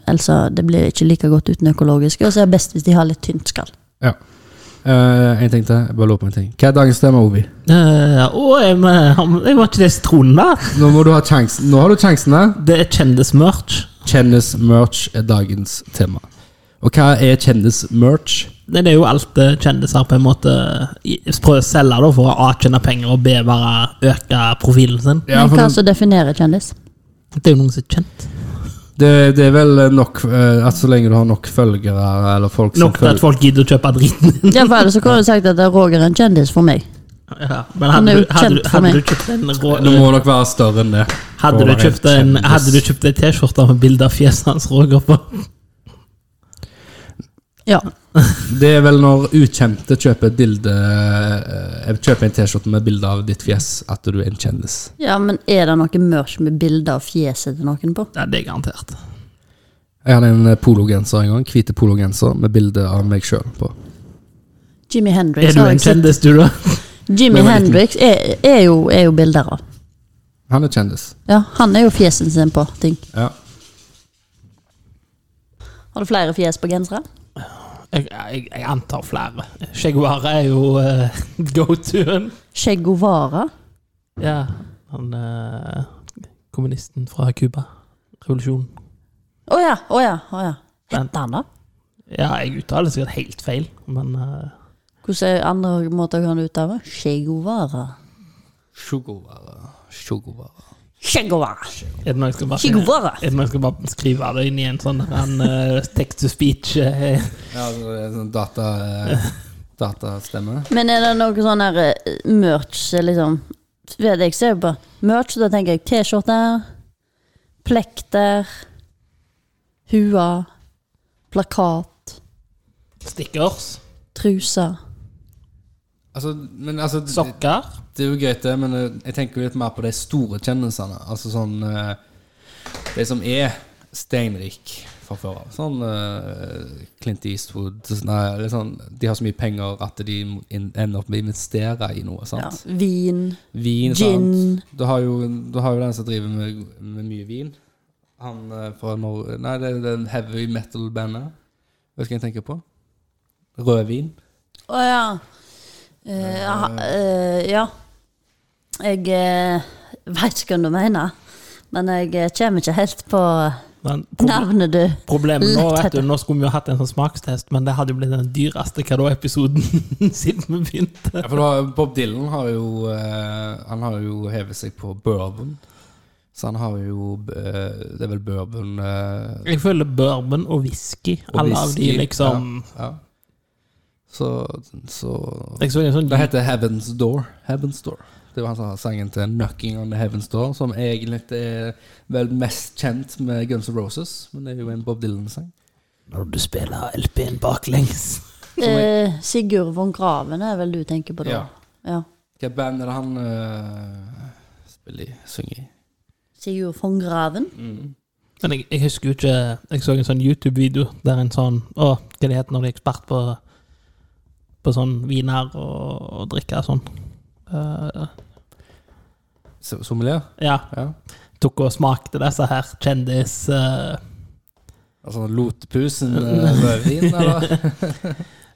altså, det blir ikke like godt uten økologiske. Og så er det best hvis de har litt tynt skall. Ja. Eh, jeg tenkte, jeg bare lurer på en ting. Hva er dagens tema, Ovi? Eh, Å, jeg, må- jeg var ikke det sitronen der. Nå må du ha sjansen. Nå har du sjansen her. Det er kjendismerch. Kjendis-merch er dagens tema. Og hva er kjendis-merch? Nei, Det er jo alt eh, kjendiser på en måte i- prøver å selge da, for å A tjene penger og B bare øke profilen sin. Ja, Men for hva det, som definerer kjendis? Det er jo noen som er kjent. det, det er vel nok eh, at så lenge du har nok følgere eller folk som Nok til at følger folk gidder å kjøpe driten din. Ja, for ellers så kunne du sagt at Roger er en kjendis for meg. [laughs] Ja, men Han er hadde, jo du- hadde, kjent du- for hadde meg. du kjøpt en rå, Det må nok være større enn det. Hadde du Å være kjøpt en kjendis. Hadde du kjøpt en T-skjorte med bilde av fjeset hans, Roger, på? Ja. Det er vel når ukjente kjøper et bilde eh, Kjøper en T-skjorte med bilde av ditt fjes, at du er en kjendis. ja, men er det noe mørk med bilder av fjeset til noen på? Ja, det er garantert. Jeg hadde en eh, pologenser en gang. Hvite pologenser med bilde av meg sjøl på. Jimmy Hendrix Er du har en jeg sett. kjendis, du, da? Jimi Men jeg vet Hendrix er, er, jo, er jo bilder av. Han er kjendis. Ja, han er jo fjesen sin på ting. Ja. Har du flere fjes på gensere? Jeg, jeg, jeg antar flere. Skjeggvare er jo eh, [laughs] go-to-en. Che Guevara? Ja, han eh, kommunisten fra Cuba. Revolusjonen. Å ja, å ja. å ja. Hette han, da? Ja, jeg uttaler det sikkert helt feil, men eh, Hvordan er andre måter kan du uttale det? Che Guevara. Che Guevara. er det noe jeg skal Che bare Guevara. er det noe jeg skal bare skrive det inn i en sånn en, eh, text to speech eh, Ja, altså, det er sånn data, [laughs] eh, datastemme. Men er det noe sånn her eh, merch, liksom? Vet jeg, ser jo på merch, da tenker jeg T-skjorter, plekter, hua, plakat, stickers? truser. Altså, men altså det, Sokker? det er jo greit, det, men eh, jeg tenker jo litt mer på de store kjendisene. Altså sånn eh, De som er steinrik fra før av. Sånn eh, Clint Eastwood nei, eller sånn, De har så mye penger at de må in- ender opp med å investere i noe. Ja, sant? vin. Vin, Gin. sant? Du har, jo, du har jo den som driver med, med mye vin. Han eh, fra Norge Nei, det er den heavy metal-bandet. Vet du hva jeg tenker på? Rødvin. Å ja. Eh, aha, eh, ja. Jeg uh, veit ikke hva du mener, men jeg eh, kommer ikke helt på eh, Men proble- navnet du Problemet nå, vet Lett du, heter. nå skulle vi jo hatt en sånn smakstest, men det hadde jo blitt den dyreste hva da episoden [laughs] siden vi begynte. Ja, for da, Bob Dylan har jo eh, Han har jo hevet seg på bourbon. Så han har jo eh, Det er vel bourbon eh, Jeg føler bourbon og whisky. og alle av de whisky. liksom ja, ja. Så, så Jeg så en sånn Det heter Heaven's Door. Heaven's Door. Det var han som har sangen til 'Knocking on the Heaven's Door', som egentlig er vel mest kjent med Guns N' Roses, men det er jo en Bob Dylan-sang. Når du spiller LP-en baklengs. Eh, Sigurd von Graven er vel du tenker på da? Ja. ja. Hvilket band er det han eh, spiller i? Synger i? Sigurd von Graven? Men jeg, jeg husker jo ikke Jeg så en sånn YouTube-video der en sånn Å, hva det heter når du er ekspert på På sånn viner og, og drikke og sånn. Eh, S- Sommelier? ja. Ja. Tok og smakte disse her kjendis... eh, Altså Lotepusen eh, rødvin, eller?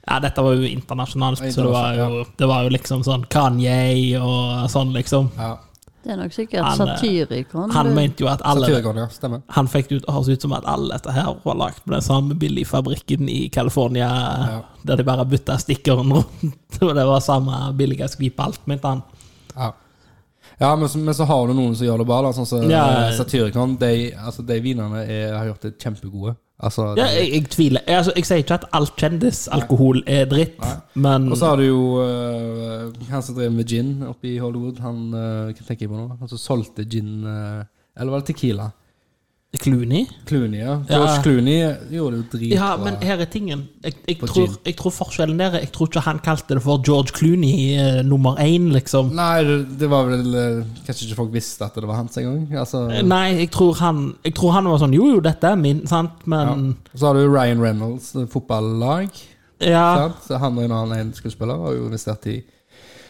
Ja, dette var jo internasjonalt, så det var Internasjonalt, jo, det var jo liksom sånn Kanye og sånn, liksom. Ja. Det er nok sikkert Han, eh, satirikon. Han du. mente jo at alle Satyricon, ja. Stemmer. Han fikk det ut- høres ut som at alle dette her var lagd på den samme billige fabrikken i California, der de bare bytta stikkeren rundt, [laughs] og det var samme billige skvip på alt, mente han. Ja. Ja, men så, men så har du noen som gjør det bra. Da, sånn som Ja. eh, Satyricon. De, altså, de vinene er, har gjort det kjempegode. Altså, Ja, de- jeg, jeg tviler. Jeg, altså, jeg sier ikke at alt kjendisalkohol er dritt, men Og så har du jo eh, han som drev med gin oppe i Hollywood. Han eh, hva tenker jeg på nå? Han som solgte gin eh, Eller var det Tequila? Clooney? Clooney, ja. George Ja. Clooney gjorde det jo dritbra. Ja, men her er tingen. Jeg, jeg, På tror, gin. jeg tror forskjellen der er Jeg tror ikke han kalte det for George Clooney eh, nummer én, liksom. Nei, det- det var vel eh, Kanskje ikke folk visste at det var hans engang. Altså, Eh, Nei, jeg tror, han, jeg tror han var sånn Jo, jo, dette er min, sant, ja. men Så har du Ryan Reynolds, eh, fotballag. Ja. sant? Så Han og en annen en skuespiller har jo investert i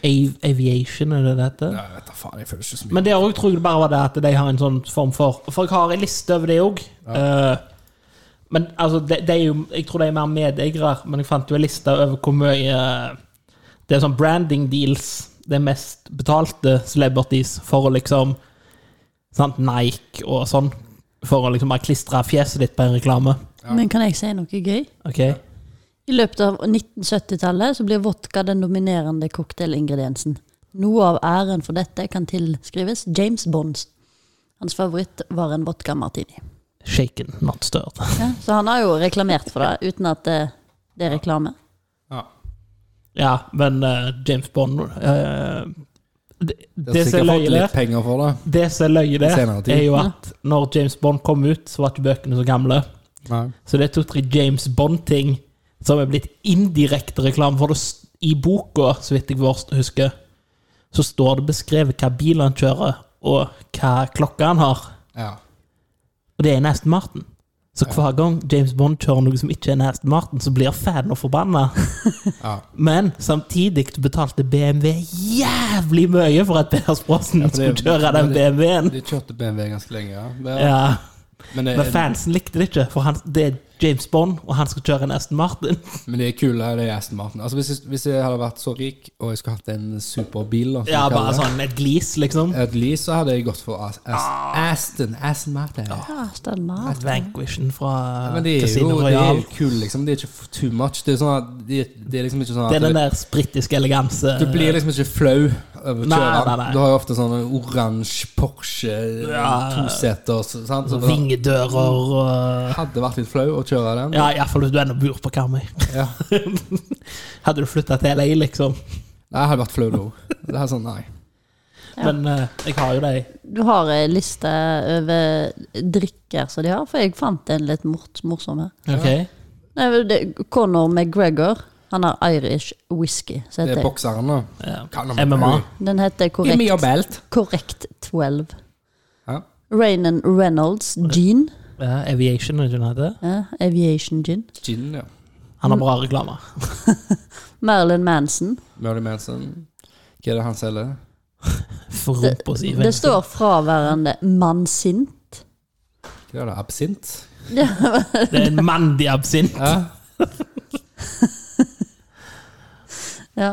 Av, aviation, er det dette? Jeg vet da faen, jeg føler ikke så mye. Men det òg tror jeg bare var det at de har en sånn form for For jeg har en liste over det òg. men altså, det, det er jo, jeg tror de er mer medeiere, men jeg fant jo en liste over hvor mye eh, Det er sånn branding deals, det mest betalte celebrities, for å liksom sant, Nike og sånn. For å liksom bare klistre fjeset ditt på en reklame. Men kan jeg si noe gøy? Ok? I løpet av 1970-tallet så blir vodka den dominerende cocktailingrediensen. Noe av æren for dette kan tilskrives James Bonds. Hans favoritt var en vodka martini. Shaken, not stirred. Ja, så han har jo reklamert for det, uten at det, det er reklame. ja, men eh, James Bond eh, det, Det har det som er sikkert fått løye der litt penger for det. Det som er løye der, Senere tid. er jo at når James Bond kom ut, så var ikke bøkene så gamle. Nei. Så det er to-tre James Bond-ting som er blitt indirekte reklame. For det, s- i boka, så vidt jeg vorst- husker, så står det beskrevet hva bil han kjører, og hva klokka han har. Ja. Og det er en Aston Martin. Så hver gang James Bond kjører noe som ikke er en Aston Martin, så blir fanen forbanna. [laughs] Ja. Men samtidig betalte BMW jævlig mye for at Peder Sprossen for det- skulle kjøre den det- BMW-en. De kjørte BMW ganske lenge, ja. Men, Ja. men, det, Men fansen likte det ikke, for han, det er James Bond, og han skal kjøre en Aston Martin. [laughs] men det er kule her, det er Aston Martin. Altså, hvis, jeg, hvis jeg hadde vært så rik, og jeg skulle hatt en superbil da, som Ja, de kaller bare det, sånn Ah. et glis, liksom. Et lys, så hadde jeg gått for As As Aston. Aston Martin. Ja, Stan Mar- Vanquishen fra Men de er Ah. Casino jo, de er Royal. jo kule, liksom. De er ikke f- too much. Det er, sånn at de, det er liksom ikke sånn Det at er du, den der britiske eleganse. du blir liksom ikke flau over å Eh, Nei, kjøre nei, den. nei. Du har jo ofte sånn oransje Porsche, eh, Ja. toseter så- sant? Så det Vingedører og hadde vært litt flau å kjøre den. Ja, iallfall hvis du ennå bor på Karmøy. Ja. Hadde du flytta til LA, liksom. Nei, jeg hadde vært flau da. Det er sånn, nei. Ja. Men eh, jeg har jo de Du har ei liste over drikker som de har, for jeg fant en litt mort, morsom her. Ok? Nei, men det, Conor McGregor, han har Irish whisky, så Det er heter bokseren, da. Ja. Kan de- MMA. den heter korrekt your belt. Korrekt 12. Ja. Raynan Reynolds gin. Ja, Aviation, er det ikke den heter? Ja, aviation gin. Gin, ja. Han har bra reklame. Marilyn Manson. Merlin Manson. Hva er det han selger? For rumpa si. Det står fraværende mannsint. Hva er det? Absint? Det er en mandig absint. Ja. Ja.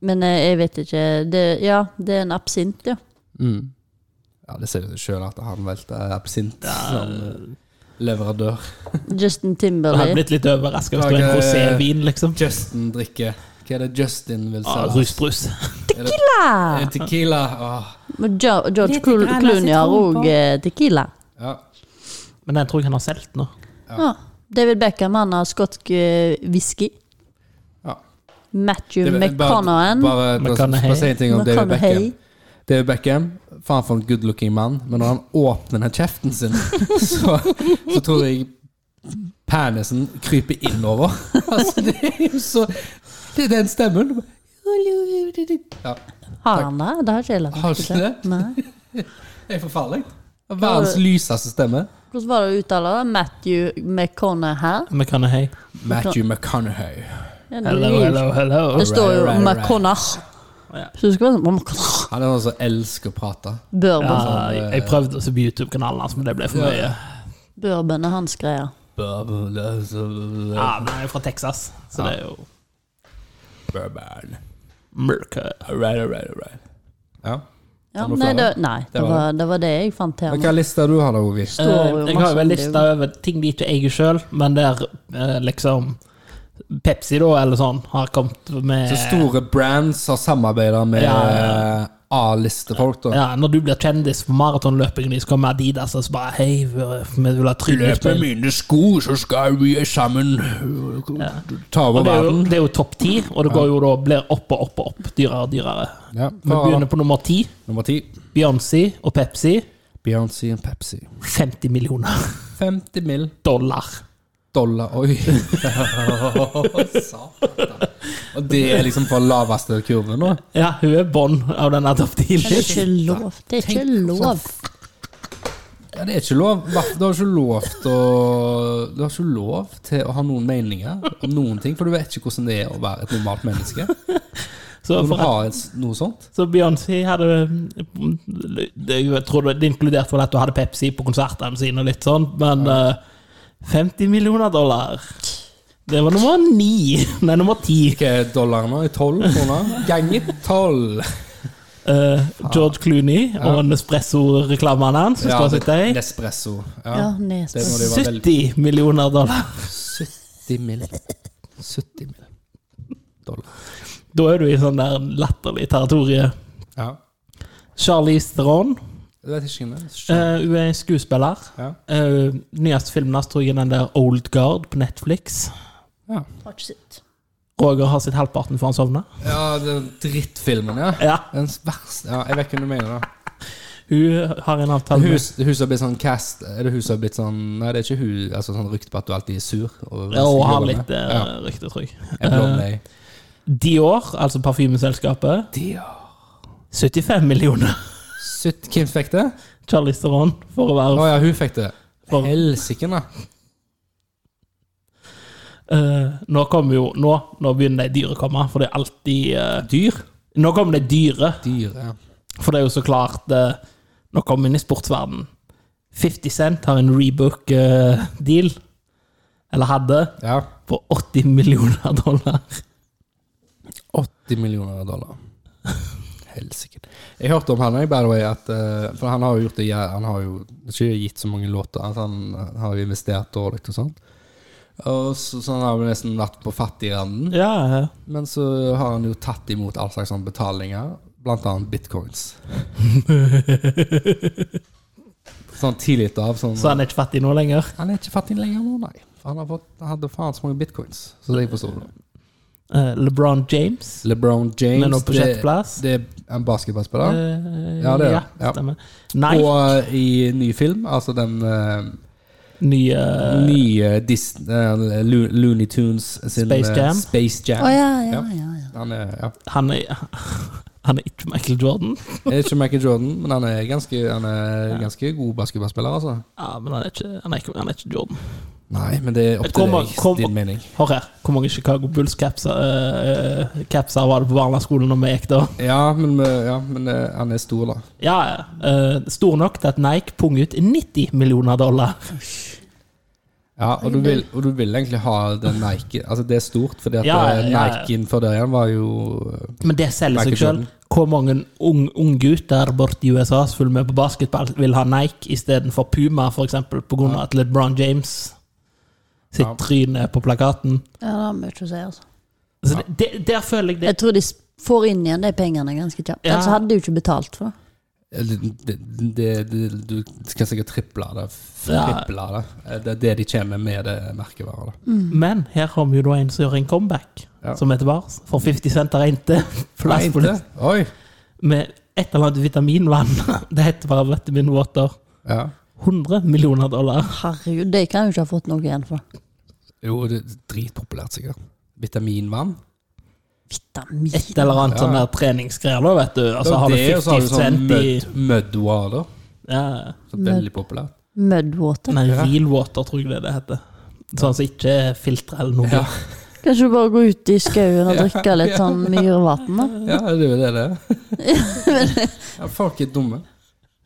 Men eh, jeg vet ikke det, Ja, det er en absint, ja. Mm. Ja, det ser du sjøl at han valgte absint som eh, leverandør. Justin Jeg hadde Timberley. blitt litt overraska hvis det var en Lager- rosévin, liksom. Justin drikker. Hva er det Justin vil Ah, selge? Rusbrus. Er det Tequila. Ah, Åh. Og Jo- George Litt Clo- grann Clooney har sitron på. òg tequila. Ja. Men den tror jeg han har solgt nå. Ja. David Beckham han har skotsk eh, whisky. Ja. Matthew Det- McConaughey. Bare, bare, bare, McConaughey. bare si en ting om David McConaughey. Beckham. David Beckham, faen for en good looking mann, men når han åpner den kjeften sin, [laughs] så, så tror jeg penisen kryper innover. [laughs] Altså, det er jo så Det er den stemmen. Ja, Har han det? Det har ikke jeg lagt Har merke ikke til. det? Nei. det er forferdelig. Verdens lyseste stemme. Hvordan var det å uttale det? Matthew McConaughey? McConaughey. Matthew McConaughey. Ja, det er Hello, jo- hello, hello. Det står jo Right, right, right. McConaughey. Ja. Så du skal være sånn McConaughey. Han er noen som elsker å prate. Bourbon. Ja, jeg- jeg prøvde å se på YouTube-kanalen hans, men det ble for mye. Bourbon er hans greie. Ja, Ah, men han er jo fra Texas, så det er jo Bourbon. mørke. Alright, alright, alright. Ja. Ja, Har du nei, flere? det, nei det, var var, det var det jeg fant her. Men nå. hva lister du har da, Ovi? Det står jo Eh, jeg har jo masse en om det. liste over ting de ikke eier sjøl, men der eh, liksom Pepsi, da, eller sånn, har kommet med Så store brands har samarbeidet med Eh. Ja, ja, eh, A-listefolk, da. ja, Når du blir kjendis for maratonløpingen din, så kommer Adidas og så bare Hei, vi vi vil ha trynet ditt. mine sko, så skal vi sammen øh, ta Og over det er, jo, verden. det er jo topp ti, og det går jo da blir opp og opp og opp, dyrere og dyrere. Ja, Vi ta, begynner på nummer ti. nummer ti. Beyoncé og Pepsi. Beyoncé og Pepsi. 50 millioner [laughs] 50 mill. dollar. dollar. [laughs] Oi! Satan. Og det er liksom på laveste kurven nå? Ja, hun er bånd av denne Top Det er 10-listen. ikke lov. Det er ikke lov. Ja, det er ikke lov. Hva- Du har ikke lov til å Du har ikke lov til å ha noen meninger om noen ting, for du vet ikke hvordan det er å være et normalt menneske. Så, Når du for at- har et, noe sånt. så Beyoncé hadde det, Jeg tror det det inkluderte vel at hun hadde Pepsi på konsertene sine og litt sånn, men eh, 50 millioner dollar Det var nummer ni. Nei, nummer ti. Eh, Hva er dollaren nå? Er 12 kroner? Ganger 12! Eh, George Clooney og Nespresso-reklamene hans. som står og sitter i. Nespresso. Ja, Ja. Det Nesbø. må de være veldig 70 millioner dollar. 70 mill. 70 mill. dollar. Da er du i sånn der latterlig territorie. Ja. Charlize Theron. Jeg vet ikke hvem det er. eh, hun er skuespiller. Ja. Eh, nyeste filmen hans tror jeg er den der Old Guard på Netflix. Har ikke sett. Roger har sitt halvparten før han sovner. ja, den drittfilmen, ja. Ja, Den verste Ja, jeg vet ikke hva du mener. da Hun har en avtale med Hus, hus har blitt sånn cast Er det hus har blitt sånn Nei, det er ikke hun altså, sånn rykte på at du alltid er sur. Og, Ja, og har jobber Eh. med. litt eh, Ja, rykte, tror jeg. jeg er blond, jeg. Dior, altså parfymeselskapet, Dior. 75 millioner. [laughs] Sutt, hvem fikk det? Charlize Theron for å Å være ja, hun fikk det. for, Helsike, da. eh, Nå kommer jo Nå, nå begynner de dyre å komme, for det er alltid eh, Dyr? Nå kommer det dyre, Dyr, ja. for det er jo så klart eh, Nå kommer vi inn i sportsverden 50 Cent har en rebook-deal, eller hadde, ja. på 80 millioner dollar. 80 millioner dollar. Helsike. Jeg hørte om han, jeg, by the way, at eh, For han har jo gjort det jæ- Han har jo ikke gitt så mange låter. Altså, han har jo investert dårlig og sånt. Og så, så han har vel nesten vært på fattigranden. Ja, ja. Men så har han jo tatt imot all slags sånn betalinger, blant annet [laughs] bitcoins. sånn tidlig av sånn, Så han er ikke fattig nå lenger. Han er ikke fattig lenger nå, nei. For han, har fått, han hadde faen så mange bitcoins. Så det jeg forstår det. Eh, LeBron James. LeBron James Men nå på det- sjetteplass? Det er en basketballspiller. Eh, Ja, det er det. Ja. stemmer. Nei, Og eh, i ny film, altså den eh, nye nye Dis eh, Lo Looney Tunes sin Space eh, Jam. Space Jam. Å ja, ja, ja. ja. Han er, ja. han er, [laughs] han er ikke Michael Jordan. Det er ikke Michael Jordan, men han er ganske, han er ganske god basketballspiller, altså. Ja, men han er ikke, han er ikke, han er ikke Jordan. Nei, men det er opp til Kom, deg, kom. din mening. Hør her, hvor mange Chicago eh, Bulls-capser capser var det på barneskolen når vi gikk da? Ja, men, eh, ja, men eh, han er stor, da. Ja, eh, Stor nok til at Nike pung ut 90 millioner dollar. Ja, og du, vil, og du vil egentlig ha den Nike Altså, det er stort, fordi at Ja, ja, eh, ja. Niken før det igjen var jo eh, Men det selger seg Michael sjøl. Jordan. Hvor mange ung- unggutter ung borte i USA som følger med på basketball, vil ha Nike istedenfor Puma, f.eks., pga. at LeBron James sitt Ja. tryne på plakaten. Ja, det har mye å si, altså. Så det, det, der føler jeg det Jeg tror de s- får inn igjen de pengene ganske kjapt. Ja. Ellers hadde de jo ikke betalt for det. det, Eh, det, det, det- Du skal sikkert triple det. f- Ja. Triple det. Eh, Det er det de tjener med det merkevaret. da. Mm. Men her har vi jo da en som gjør en comeback, Ja. som heter Vars. For 50 Cent [laughs] har regnet [laughs] plass på Nei, det ikke? Oi! med et eller annet vitaminvann. [laughs] Det heter bare vitaminwater. Ja. 100 millioner dollar. Herregud, de kan jo ikke ha fått noe igjen for det. Jo, det er dritpopulært, sikkert. Vitaminvann. Vitamin. Et eller annet sånn der treningsgreier, da, vet du. Og så Og har du det, og så har 50 du sånn Cent i mud, mudwater. ja. Så veldig populært. Mudwater. Nei, real water, tror jeg det det heter. Sånn som ikke er filtra eller noe. Ja. Kanskje du bare gå ut i skauen og drikke litt sånn myrvann, [laughs] da? Ja, det er jo det det er. Ja, folk er dumme.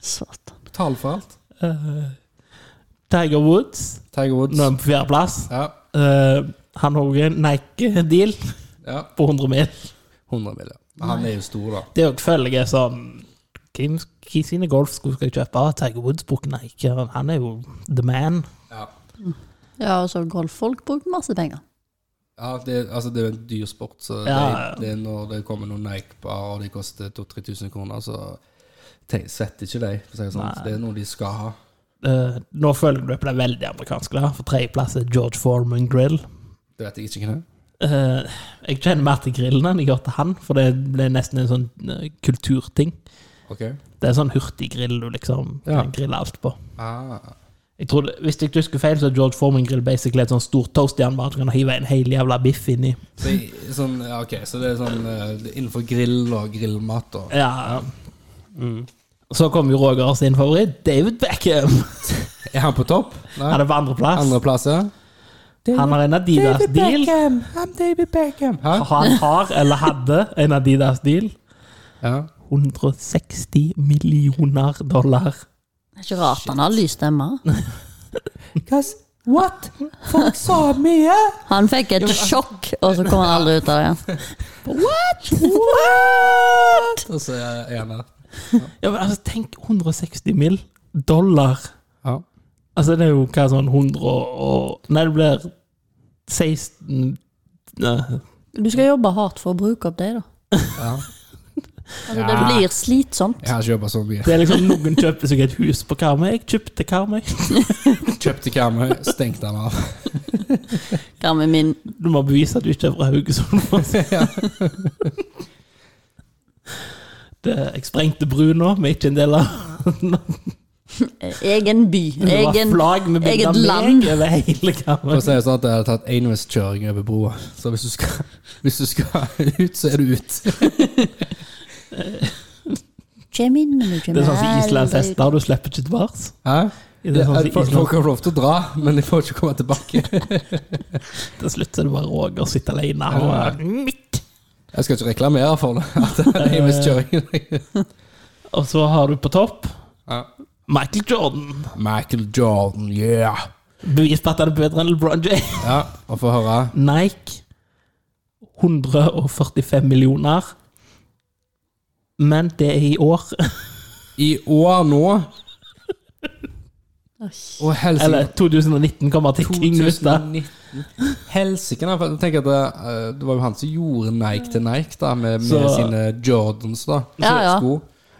Satan. Betal for alt. [laughs] Eh, Tiger Woods, Tiger Woods. nå er vi på fjerdeplass. Ja, Uh, han har òg en Nike-deal ja. på 100 mil. 100 mill. Han er jo stor, da. Det òg føler jeg er sånn Hvem hvem sine golfsko skal jeg kjøpe? Ah, Tiger Woods bruker Nike. Han han er jo the man. Ja, Ja, og så har golffolk brukt masse penger. ja det, er- altså, det er jo en dyr sport, så Ja. det, det er når det kommer noen Nike-bar og de koster 2000-3000 kroner, så tenk, setter ikke de, for å si det sånn. Nei. Det er noe de skal ha. Eh, nå føler jeg det ble veldig amerikansk, da. For tredjeplass er George Foreman Grill. Det vet jeg ikke hvem det er. Eh, jeg kjenner mer til grillen enn jeg gjør til han, for det ble nesten en sånn eh, kulturting. Ok. Det er sånn hurtiggrill du liksom Ja. kan grille alt på. Ah. Jeg tror det, Hvis jeg ikke husker feil, så er George Foreman grill basically et sånn stort toastjern bare at du kan hive en hel jævla biff inni. Så, jeg- sånn, ja, ok, så det er sånn eh, det er innenfor grill og grillmat og Ja. Så kom jo Roger sin favoritt, David Beckham. Er han på topp? Nei. Han er på andreplass. Andreplass, ja. Han har en Adidas-deal. I'm David Beckham. Hæ? Han har, eller hadde, en Adidas-deal. Ja. 160 millioner dollar. Det er ikke rart han har lys [laughs] stemme. What? Folk sa mye? Han fikk et sjokk, og så kom han aldri ut av det igjen. [laughs] Og så er jeg enig. Ja, men altså, tenk 160 mill. dollar. Ja. Altså, det er jo hva sånn 100 og Nei, det blir 16 Nei, Du skal jobbe hardt for å bruke opp det, da. Ja. [laughs] Altså, det blir slitsomt. Jeg har ikke jobba så mye. Det er liksom noen kjøper seg et hus på Karmøy. Jeg kjøpte Karmøy. Kjøpte Karmøy, stengte han av. Kan vi min Du må bevise at du ikke er fra Haugesund. Ja. Det, jeg sprengte bru nå, men ikke en del av eh, egen [laughs] by, Det var egen flagg med bilde eget av land. meg over hele Karmøy. For å si det sånn at jeg hadde tatt enveiskjøring over broa. Så hvis du, skal, hvis du skal [laughs] ut, så er du ut. Kjem inn, men du kjem Det er sånn som aldri ut. islandshester, du slipper ikke tilbake. Hæ? Det er sånn som folk, folk Island, har lov til å dra, men de får ikke komme tilbake. til slutt er det bare Roger sitter alene. Og er mitt. Jeg skal ikke reklamere [laughs] for det. At det er enveiskjøring. Og så har du på topp Ja. Michael Jordan. Michael Jordan, yeah! Bevis på at han er bedre enn LeBron James. [laughs] Ja, og få høre. Nike 145 millioner. Men det er i år. I år nå Å, helsike. Eller 2019 kommer artikkelen ut. da. 2019. Helsike, da, for jeg tenker at det, eh, det var jo han som gjorde Nike til Nike, da, med, med Så- sine Jordans, da. Ja, ja. Sko.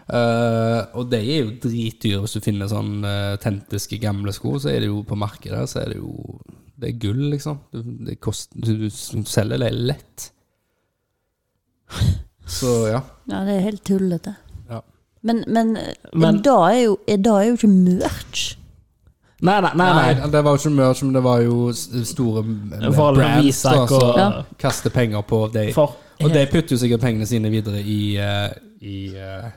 Eh, og de er jo dritdyre hvis du finner sånn eh, autentiske, gamle sko. Så er det jo på markedet, så er det jo Det er gull, liksom. Det, det kost, du, du selger det lett. Så ja. Ja, det er helt tullete. Ja. Men, men, eh, Men- da er jo, eh, da er jo ikke merch. Nei, nei, nei. Nei, nei. det var jo ikke merch, men det var jo s- store eh, Forholdet med brands da, Visak og- som Ja. kaster penger på de. For, Og de putter jo sikkert pengene sine videre i, eh, i eh,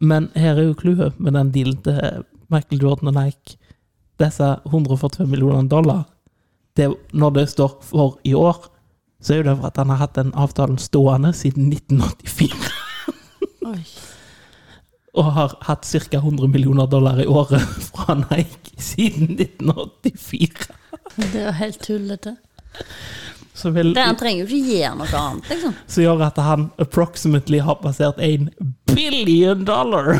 men her er jo clouet med den dealen til Michael Jordan og Nike. Disse 145 millioner dollar det, er- Når det står for i år, så er jo det for at han har hatt den avtalen stående siden 1984. [laughs] Og har hatt ca. 100 millioner dollar i året [laughs] fra Nike siden 1984. [laughs] Det er helt tullete. Så vil, Det, han trenger jo ikke gjøre noe annet, liksom. som gjør at han approximately har passert 1 billion dollar.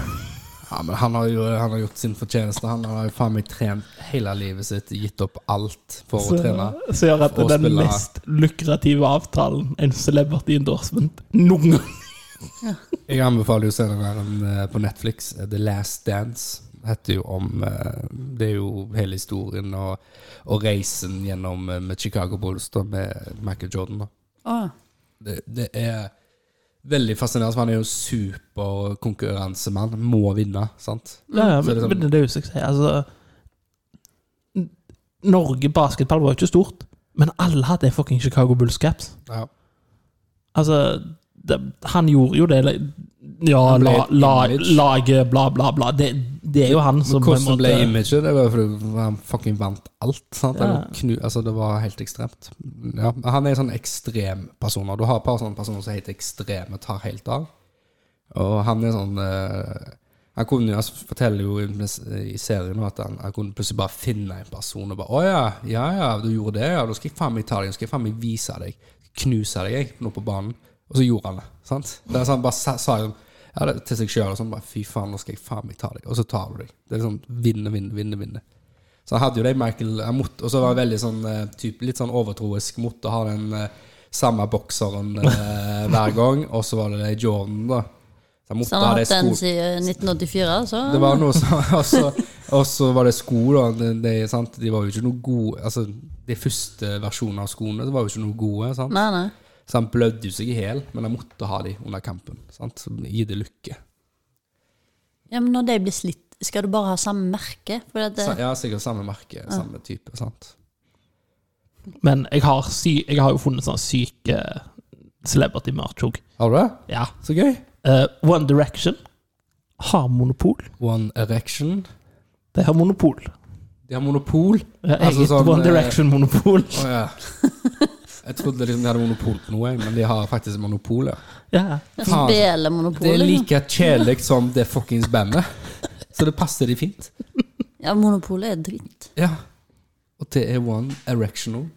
Ja, men han har jo han har gjort sin fortjeneste. Han har jo faen meg trent hele livet sitt, gitt opp alt for å trene. Så gjør at Og det er den spille- mest lukrative avtalen en celebrity endorsement noen gang. Jeg anbefaler jo serien eh, på Netflix, eh, The Last Dance. Det Heter jo om eh, Det er jo hele historien og, og reisen gjennom eh, med Chicago Bulls da, med Michael Jordan. da. Å, Det, det er veldig fascinerende, for han er jo superkonkurransemann. Må vinne, sant? Ja, ja, Så men, det er sånn- men det er jo suksess. Altså, N- Norge basketball var jo ikke stort, men alle hadde fucking Chicago Bulls caps. Ja. Altså, det, han gjorde jo det eller- Ja, Han ble la, et la, image. laget, bla, bla, bla. Det, det er jo han som Men på en hvordan ble måte- imaget? Det var jo fordi han fucking vant alt. Sant? Ja. Han Knu, altså det var helt ekstremt. Ja, men han er en sånn ekstrem person. Og du har et par sånne personer som er helt ekstreme, tar helt av. Og han er sånn eh, Han kunne jo, altså, forteller jo i, i serien nå at han, han kunne plutselig bare finne en person og bare 'Å ja, ja ja, du gjorde det, ja. Da skal jeg faen meg ta deg, da skal jeg faen meg vise deg. Knuse deg, jeg, nå på banen.' Og så gjorde han det. sant? Det er sånn, bare sa, sa jo ja, det, til seg sjøl sånn bare 'Fy faen, nå skal jeg faen meg ta deg.' Og så tar du deg. Det er sånn vinne, vinne, vinne. vinne. Så han hadde jo det Michael han måtte- Og så var han veldig sånn eh, typ, litt sånn overtroisk. Måtte ha den eh, samme bokseren [laughs] eh, hver gang. Og så var det det Jordan, da. Så han Så måtte han ha har det hatt den sko. siden 1984, så Det var noe som [laughs] Og så- og så var det sko, da. De, de, sant? de var jo ikke noe gode Altså, de første versjonene av skoene de var jo ikke noe gode. Sant? Nei, nei. Så han blødde jo seg i hjel, men han måtte ha de under kampen. Sant? Så gi det lykke. Ja, men når de blir slitt, skal du bare ha samme merke? For at eh, Sa- det, Ja, sikkert samme merke, samme type, sant? Men jeg har, sy jeg har jo funnet sånn syk eh, celebrity merch òg. Har du det? Ja. Så gøy. Eh, One Direction har monopol. One Erection. De har monopol. De har monopol. Eh, Eget Altså sånn, One eh, [laughs] Direction-monopol. Å ja. Jeg trodde liksom de hadde monopol på noe, men de har faktisk monopol, ja. Ja. det faen. spiller Det er Monopolet. Liksom. like kjedelig som det fuckings bandet. Så det passer de fint. Ja, Monopolet er dritt. Ja. Og det er One Erectional.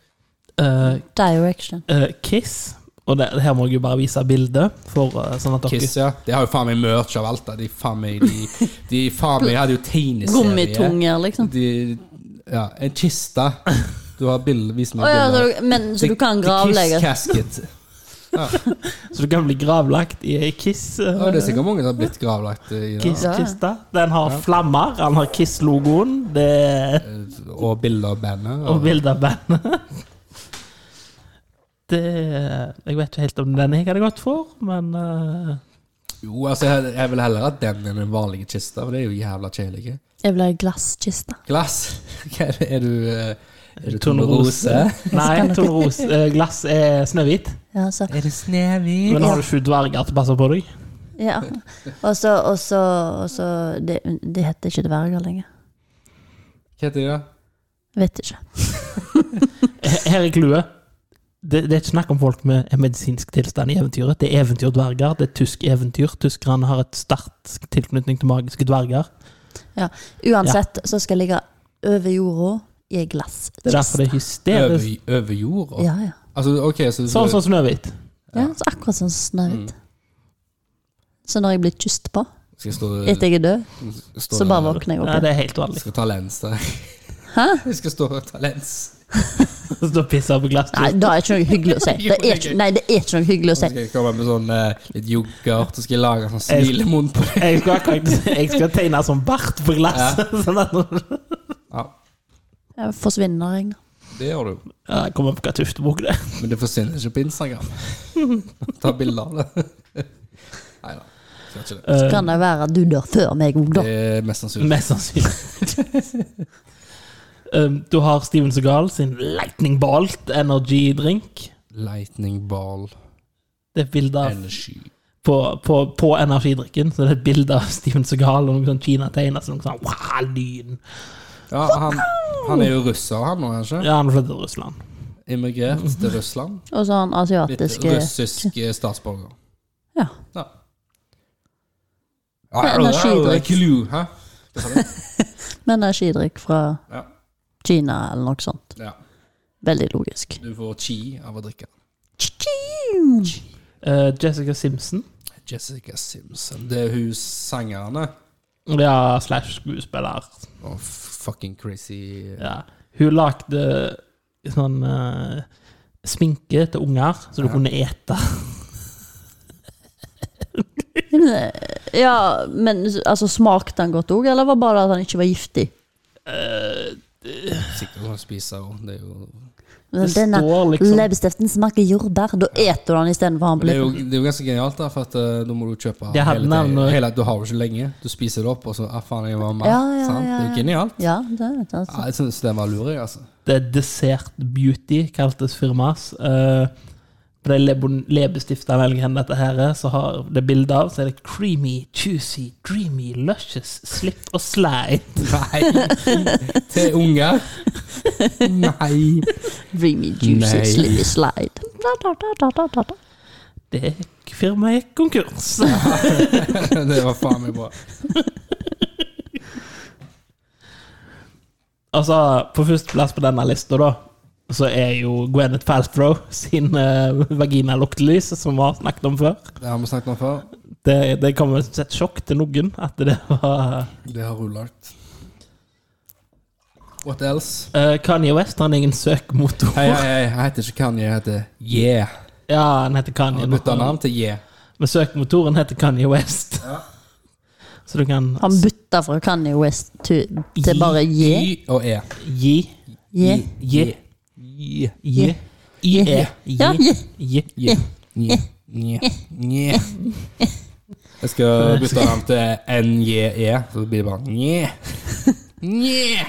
Eh, Direction. eh, Kiss Og det, her må jeg jo bare vise bildet, for, eh, sånn at dere Kiss, ja. De har jo faen meg merch av alt. da. De faen meg De, de faen meg hadde jo tegneserie. Gummitunger, liksom. De, ja, en kiste. Du har bilde, vis meg Å ja, så bildet. du, men, så The- du kan the Kiss gravlegge casket. Så du kan bli gravlagt i ei kiss, eh, Ja, det er sikkert mange som har blitt gravlagt i det. Kiss-kiste. Den har flammer, den har Kiss-logoen, det er- Og bilder av bandet. og bilde av bandet. [laughs] Det Jeg vet ikke helt om den jeg hadde gått for, men eh, Jo, altså, jeg, jeg vil heller at den enn den vanlige kista, for det er jo jævla kjedelig. Jeg vil ha ei glasskiste. Glass? [laughs] Hva er det- er du eh, Er du Tone Rose. Nei, Tone Rose. eh, Glass er Snøhvit. Ja, så Er det Snehvit? Men har du sju dverger til å passe på deg? Ja. Og så, og så, og så det, De heter ikke dverger lenger. Hva heter de, da? Vet ikke. Her- Her er clouet. Det, det er ikke snakk om folk med en medisinsk tilstand i eventyret. Det er eventyrdverger. Det er tysk eventyr. Tyskerne har et sterk tilknytning til magiske dverger. Ja. Uansett så skal jeg ligge over jorda i ei Det er derfor glasskiste. det er hysterisk. Over, over jorda? Ja, ja. Altså, ok, så, Mm. Sånn som Snøhvit. ja så akkurat sånn snøhvit. Så når jeg blir kysset på Skal jeg stå, etter jeg er død, stå så der? bare våkner jeg Ja, opp det igjen. er helt vanlig. [laughs] Skal ta lens der. Hæ? [laughs] Jeg skal stå og ta lens. Stå og pisse på glass. Nei, det er ikke noe hyggelig å si. Det er ikke, nei, det er ikke noe hyggelig å Så si. skal jeg komme med sånn eh, litt yoghurt, og skal jeg lage sånn Jeg- smilemunn på deg. Jeg skal, akkurat- jeg skal tegne som bart på glass. [laughs] Sånn at når- Ja, Jeg forsvinner, jeg. nå. det gjør du. Ja, jeg kommer på hva tuftebok det er. Men det forsvinner ikke på Instagram. ta bilder av det. [laughs] Nei da, skal ikke det. Så kan det være at du dør før meg òg, da. Det er mest sannsynlig. Eh, Mest sannsynlig. [laughs] um, du har Steven Segal sin Lightning Bolt Energy Drink. Lightning ball Det er et bilde av energy. på, på, på energidrikken. Så det er et bilde av Steven Segal og noen sånn Kina-tegner. Så noen sånn, wow, lyn. Ja, han, han er jo russer, han nå, kanskje? Ja, han flyttet til Russland. Immigrert til Russland. Og sånn Litt asiatiske russisk eh, statsborger. Ja. Ja. Ja, energidrikk. Clue, hæ? med energidrikk fra Ja. Kina eller noe sånt. ja. Veldig logisk. Du får chi av å drikke. Eh, Jessica Simpson. Jessica Simpson. Det er hun sangerne. Ja, slash skuespiller. Å, fucking crazy. eh, Ja. Hun lagde sånn eh, sminke til unger, så du kunne ete. Ja, men altså, smakte han godt òg, eller var det bare at han ikke var giftig? Sikkert hun spiser jo. Det er jo, Det Denne står liksom- leppestiften smaker jordbær. Da eter du den istedenfor han Men det er blir jo, det er jo ganske genialt, da, for at, eh, da må du kjøpe Det hadde hele, navnet tiden. også. hele Du har jo ikke lenge. Du spiser det opp, og så ah, faen, jeg var med. Ja, ja, sant? Det er ja, jo ja. genialt. Ja, det vet jeg. Altså. Ja, jeg syns den var lur, jeg, altså. Det er Dessert Beauty, kaltes firmas. Eh, på de lebon- leppestiftene eller hva enn dette her er, så har det bilde av, så er det creamy, juicy, dreamy, luscious, slip og slide. Nei! [laughs] Til unger? Nei! [laughs] Dreamy, juicy, Nei. slippy slide. Da, da, da, da, da, da, da. Det firmaet gikk konkurs. [laughs] Det var faen meg bra. Altså, på førsteplass på denne lista, da, så er jo Gwenneth Paltrow sin uh, vaginaluktelys, som vi har snakket om før. Det har vi snakket om før. Det, det kommer som et sjokk til noen at det var Det har hun lagt. What else? Eh, Kanye West har en egen søkemotor. Hei, hei, hei, jeg heter ikke Kanye, jeg heter Yeah. Ja, han heter Kanye. Jeg bytta navn til Yeah. Men søkemotoren heter Kanye West. [laughs] Så du kan Han bytta fra Kanye West til, til bare J. Y og E. gi J. Gi Yeah. Gi Gi Ja, Gi J. Gi Yeah. Yeah. Yeah. Jeg skal bytte navn til NJE, så blir det bare Nje. Nje.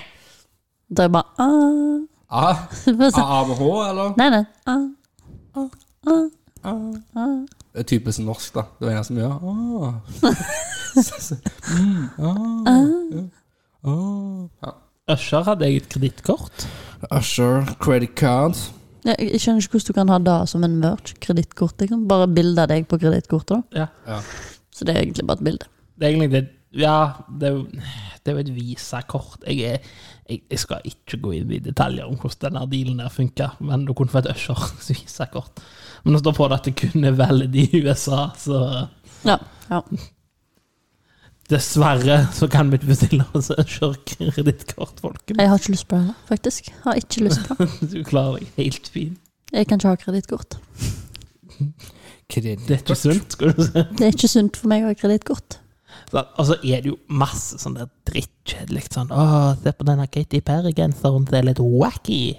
Da er jeg bare ah. A. A med H, eller? Nei, nei. Ah. Det er Eh, typisk norsk, da. Det er en som gjør ah. Usher hadde eget kredittkort. Usher, credit card. Jeg, jeg skjønner ikke hvordan du kan ha det som en merch. Kredittkort. Jeg kan bare bilde av deg på kredittkortet. da. Ja. Så det er egentlig bare et bilde. Det er egentlig det Ja, det er jo, det er jo et visakort. Jeg, er- jeg, jeg skal ikke gå inn i detaljer om hvordan denne dealen der funker, men du kunne få et [laughs] Ushers visakort. Men det står på det at det kun er valid i USA, så Ja, ja. dessverre så kan vi ikke bestille oss Usher-kredittkort, folkens. Jeg har ikke lyst på det, da, faktisk. Jeg har ikke lyst på det. [laughs] Du klarer deg helt fint. Jeg kan ikke ha kredittkort. Det er ikke sunt, skal du si. Det er ikke sunt for meg å ha kredittkort. Så, og så er det jo masse sånn der drittkjedelig sånn Å, se på denne Katy Perry-genseren, det er litt wacky.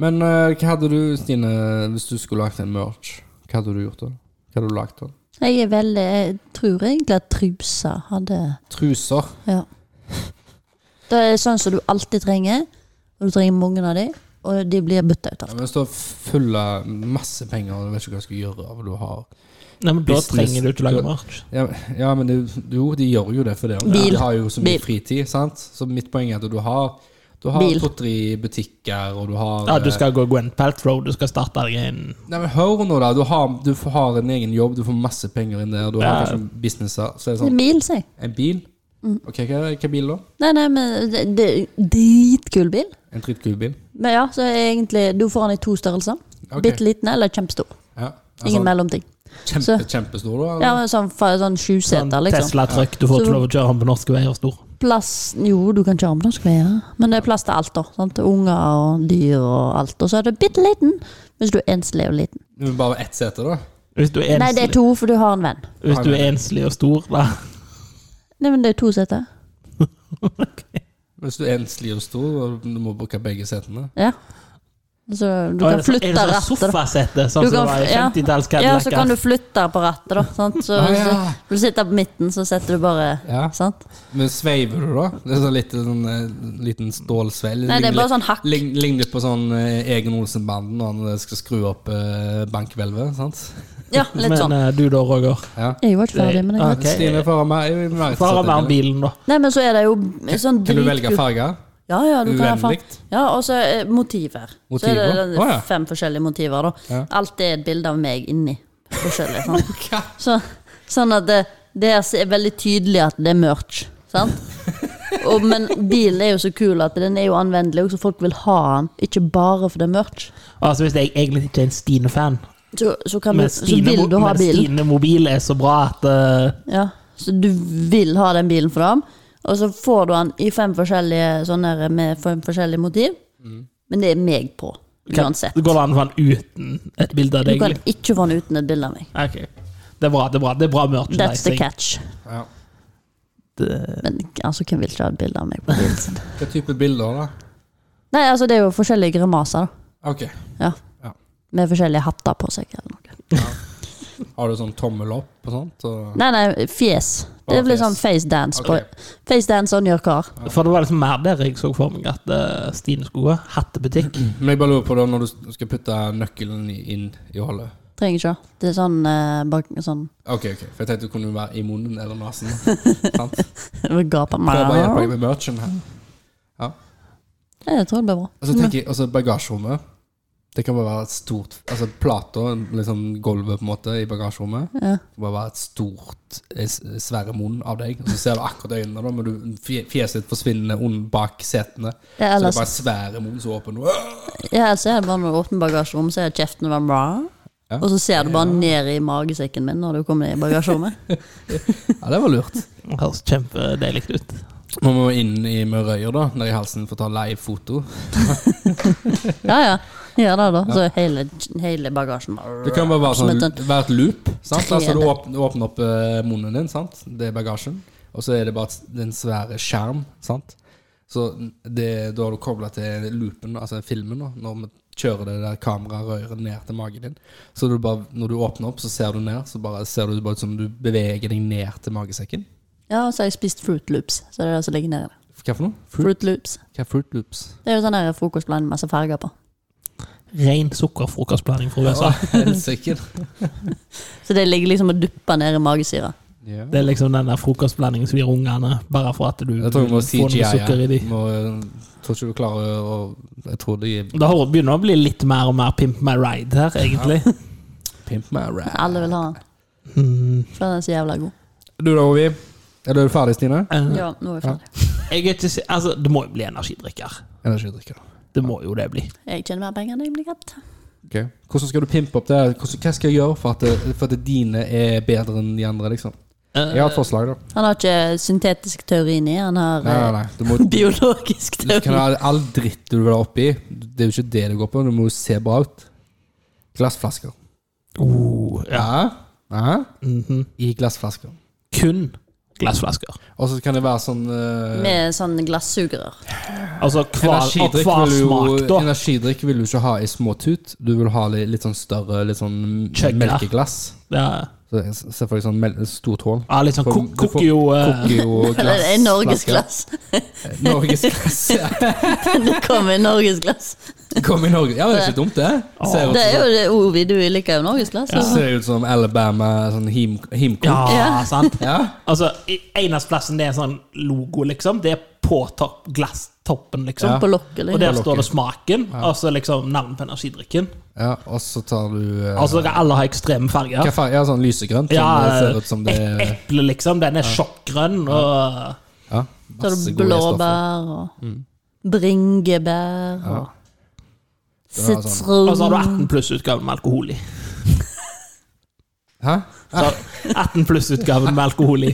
Men eh, hva hadde du, Stine, hvis du skulle lagt en merch? Hva hadde du gjort da? Hva hadde du lagt da? Jeg er veldig Jeg tror egentlig at trusa hadde Truser. Ja. Det er sånn som du alltid trenger, og du trenger mange av de, og de blir bytta ut Ja, av. men Hvis du har full av masse penger og du vet ikke hva du skal gjøre av det du har Nei, men da Business. trenger du ikke lage merch. Ja, men- ja men det, jo, de gjør jo det for det. Bil. De har jo så mye Bil. fritid, sant? Så mitt poeng er at du har Du har Bil. to-tre butikker, og du har Ja, du eh, skal gå Gwen Paltrow, du skal starte deg en Nei, men Hør nå, da. Du har, du får- har en egen jobb, du får masse penger inn der, du har Ja. kanskje businesser. Så er det Det er sånn bil, sier jeg. En bil? Mm. Ok, hva er hva er bil, da? Nei, nei, men det, det er dritkul bil. En drittkul bil? Men ja, så er egentlig Du får den i to størrelser. Ok. Bitte liten eller kjempestor. Ja. Ingen Altså, mellomting. kjempe, kjempestor, da? eller? Ja, men sånn, fa- sånn sånn sjuseter, liksom. Tesla-trøkk du får Så- ikke lov å kjøre den på norske veier stor. Plass Jo, du kan kjøre med norsk veier, men det er plass til alt, da. Sant? Til Unger og dyr og alt. Og så er du bitte liten hvis du er enslig og liten. Men bare ett sete, da? Hvis du er Nei, det er enslig, to, for du har en venn. hvis du er enslig og stor, da Nei, men det er to seter. Hvis du er enslig og stor, og du må bruke begge setene. Ja. Så du Er kan det så- flytte Er det sånn rattet. da. sofasette, sånn som Du det kan- var i ja. 50-talls Ja, så kan du Cadillac? flytte på rattet, da. Sant? Så Ah, hvis ja. du- du sitter på midten, så setter du bare Ja. Sant? Men sveiver du, da? Det er sånn litt, sånn, eh, liten stålsveil. Nei, det er bare sånn hakk. Lign- Ligner på sånn eh, Egen Olsen-banden når han eh, skal skru opp eh, bankhvelvet, sant? Ja, litt Men sånn. eh, du da, Roger? Jeg var ikke ferdig med det. Ok. Stine, får han mer- mer et Far sete, av eller? bilen, da. Nei, men så er det jo Kan sånn du dritkul- velge farger? Ja, ja, du kan ha farge. Uvennligt. Ja, og så eh, motiver. Så er Motiver? det Å, ja. fem forskjellige motiver, da. Ja. Alt er et bilde av meg inni. Forskjellig. Sånn, [laughs] så, sånn at det, det er så- er veldig tydelig at det er merch. Sant? Og, men bilen er jo så kul at den er jo anvendelig, og så folk vil ha den. Ikke bare for det er merch. Altså, hvis jeg egentlig ikke er en Stine-fan, Så, så, kan du, men så vil du Stine-mo- ha men bilen. Stine-mobil er så bra at eh, Ja, så du vil ha den bilen for dem, og så får du den i fem forskjellige sånne her med fem forskjellige motiv. Mm. Men det er meg på, Kan- uansett. Går det an å få den uten et bilde av Du deg? kan ikke få den uten et bilde av meg. Ok. Det er bra. det er bra, det er bra That's the merchandising. Eh, catch. Ja. Det- Men altså, hvem vil ikke ha et bilde av meg på bilen sin? Hva type bilder, da? Nei, altså, det er jo forskjellige grimaser, da. Ok. Ja. Ja. Med forskjellige hatter på seg eller noe. Har du sånn tommel opp og sånt? Og... Nei, nei, fjes. Det Bare blir fjes. sånn face dance på Ok. Face dance on your car. For det var liksom mer der jeg så for meg at eh, Stine skulle gå. Hattebutikk. Men jeg bare lurer på da, når du skal putte nøkkelen i- inn i hullet Trenger ikke det. Det er sånn, eh, bak, sånn [laughs] Ok, ok, for jeg tenkte det kunne jo være i munnen eller nasen. [laughs] Sant? Gaper Prøv bare å hjelpe deg meg. med merchen her. Altså, Nei, Jeg tror det blir bra. Og så tenker jeg, også bagasjerommet. Det kan bare være et stort Altså plata, liksom gulvet på en måte, i bagasjerommet. Ja. Det kan bare være et stort, eh, s- svære munn av deg. Og så ser du akkurat øynene, da, men du, fje- fjeset ditt forsvinner ond bak setene. Så Ja, det ellers- er bare svære munn som åpner. Ja, ellers er det bare når du åpner bagasjerommet, så er kjeften bare bra. Og så ser du bare ned i magesekken min når du kommer i bagasjerommet. Ja, det var lurt. Det Høres kjempedeilig ut. Nå må vi inn i Mørøyer, da, ned i halsen, for å ta live foto. Ja, ja. Ja da, da. Så hele, hele bagasjen bare Det kan bare være, Som et sånn, sånt- være et loop. Sant? Altså, du 3D. åpner, du åpner opp eh, munnen din, sant? det er bagasjen. Og så er det bare et- det er en svære skjerm. Sant? Så det, da har du kobla til loopen, altså filmen, da, når vi kjører det der kamerarøret ned til magen din. Så du bare, når du åpner opp, så ser du ned, så bare ser du bare ut som du beveger deg ned til magesekken. Ja, og så har jeg spist Fruit Loops. Så det er det som ligger nede. Hva for noe? Fruit, Fruit Loops. hva er fruit loops? Det er jo sånn der frokostbland med masse farger på. Ren sukkerfrokostblanding fra USA. [laughs] Helsike. Så det ligger liksom og dupper ned i magesyra. Ja. Det er liksom den der frokostblandingen som gir ungene, bare for at du Jeg tror vi må får noe sukker i CGI. de. Jeg må, jeg tror ikke du klarer å Jeg tror de Det har- begynner å bli litt mer og mer Pimp my ride her, egentlig. Pimp my rap. Alle vil ha den. [laughs] Mm. For den er så jævla god. Du da, Ovi? Er du ferdig, Stine? Eh, Ja, nå er jeg ferdig. Jeg er ikke, si- altså, det må jo bli energidrikker. Energidrikker. Det må jo det bli. Jeg tjener mer penger enn jeg blir redd. Ok. Hvordan skal du pimpe opp det? her? Hvordan, hva skal jeg gjøre for at, det- for at dine er bedre enn de andre? liksom? Eh, Jeg har et forslag, da. Han har ikke syntetisk teori inni, han har Nei, nei, eh, nei. Du, [laughs] må, du Biologisk kan teori. ha all dritt du vil ha oppi. Det er jo ikke det det går på. Du må jo se bra ut. Glassflasker. oh, ja. Ja. Ja. Mhm. I glassflasker. Kun glassflasker. Og så kan det være sånn eh, med sånn sånne glassugere. Altså hver, og Energidrikk hver vil, smak, jo, da. energidrikk vil du ikke ha i små tut. Du vil ha litt, litt sånn større litt sånn Chugga. melkeglass. Ja, Så, selvfølgelig sånn mel stort hål. ja, litt sånn For- kok- du får- koker jo eh, Det Kokio-glass. er norgesglass. [laughs] Norgesglass. ja. Det [laughs] kommer norgesglass. [laughs] Kom i Norge. Ja, det er ikke dumt, det. Ser ut, Det er jo det Ovi, du liker jo norgesglass. som- altså. Ah. ser ut som Alabama sånn him, himkok. [laughs] Ja, sant. Ja. Altså, i- eneste plassen det er en sånn logo, liksom, det er på topp, glasstoppen, liksom. På lokket, Og der liksom. står det smaken, og så liksom navnet på energidrikken. ja. Og så tar du eh, Altså, alle har ekstreme farger. hva farge? Ja, sånn lysegrønt. Ja, som det ser ut som det e- eple, liksom. Den er sjokkgrønn. Og ja, Så har masse du gode stoffer. blåbær og Mm. bringebær og var sånn- og så Altså, har du sitron. 18 pluss-utgaven med alkohol i. Hæ? Så 18 pluss-utgaven med alkohol i.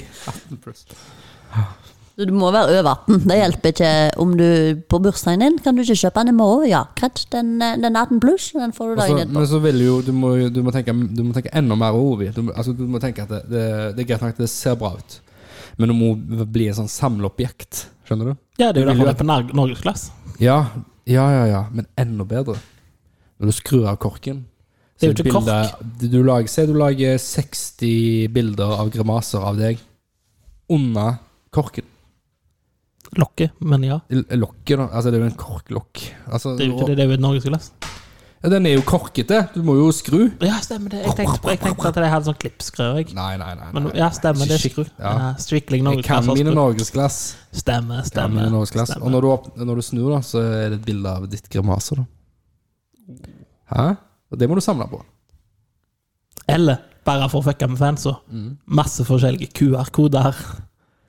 Du må være over 18. Det hjelper ikke om du på bursdagen din kan du ikke kjøpe den i morgen. Ja, greit. Den, eh, den er 18 pluss, den får du Og så- dagen etterpå. Altså, men så vil jo, du må, jo- du må, tenke, du må tenke enda mer over du, må- altså, du må tenke at det, det, det er greit nok at det ser bra ut, men det må bli et sånn samleobjekt. Skjønner du? Ja, det er jo vil jo derfor det er på Nor- norgesglass. Ja, ja, ja, ja, men enda bedre. Når du skrur av korken Det er jo så ikke kork. du- Du lager, se, du lager 60 bilder av grimaser av deg under korken. Lokket, men ja. L- Lokket, da. Altså, det er jo en korklokk. Altså, Det er jo ikke det, det er jo et norgesglass. Ja, den er jo korkete. Du må jo skru. Ja, stemmer det. Jeg tenkte, jeg tenkte at det hadde sånn klippskrø. jeg. Nei, nei, nei. nei. Men ja, stemmer det. er Skru. Ja. Ja, strictly Jeg kan norgesglass. har mine skru. norgesglass. Stemmer, Ja, men stemmer. det er Norges glass. Og stemmer. når du, åpner, når du snur, da, så er det et bilde av ditt grimaser. Da. Hæ? Og det må du samle på. Eller bare for å fucke med fansa. Masse forskjellige QR-koder.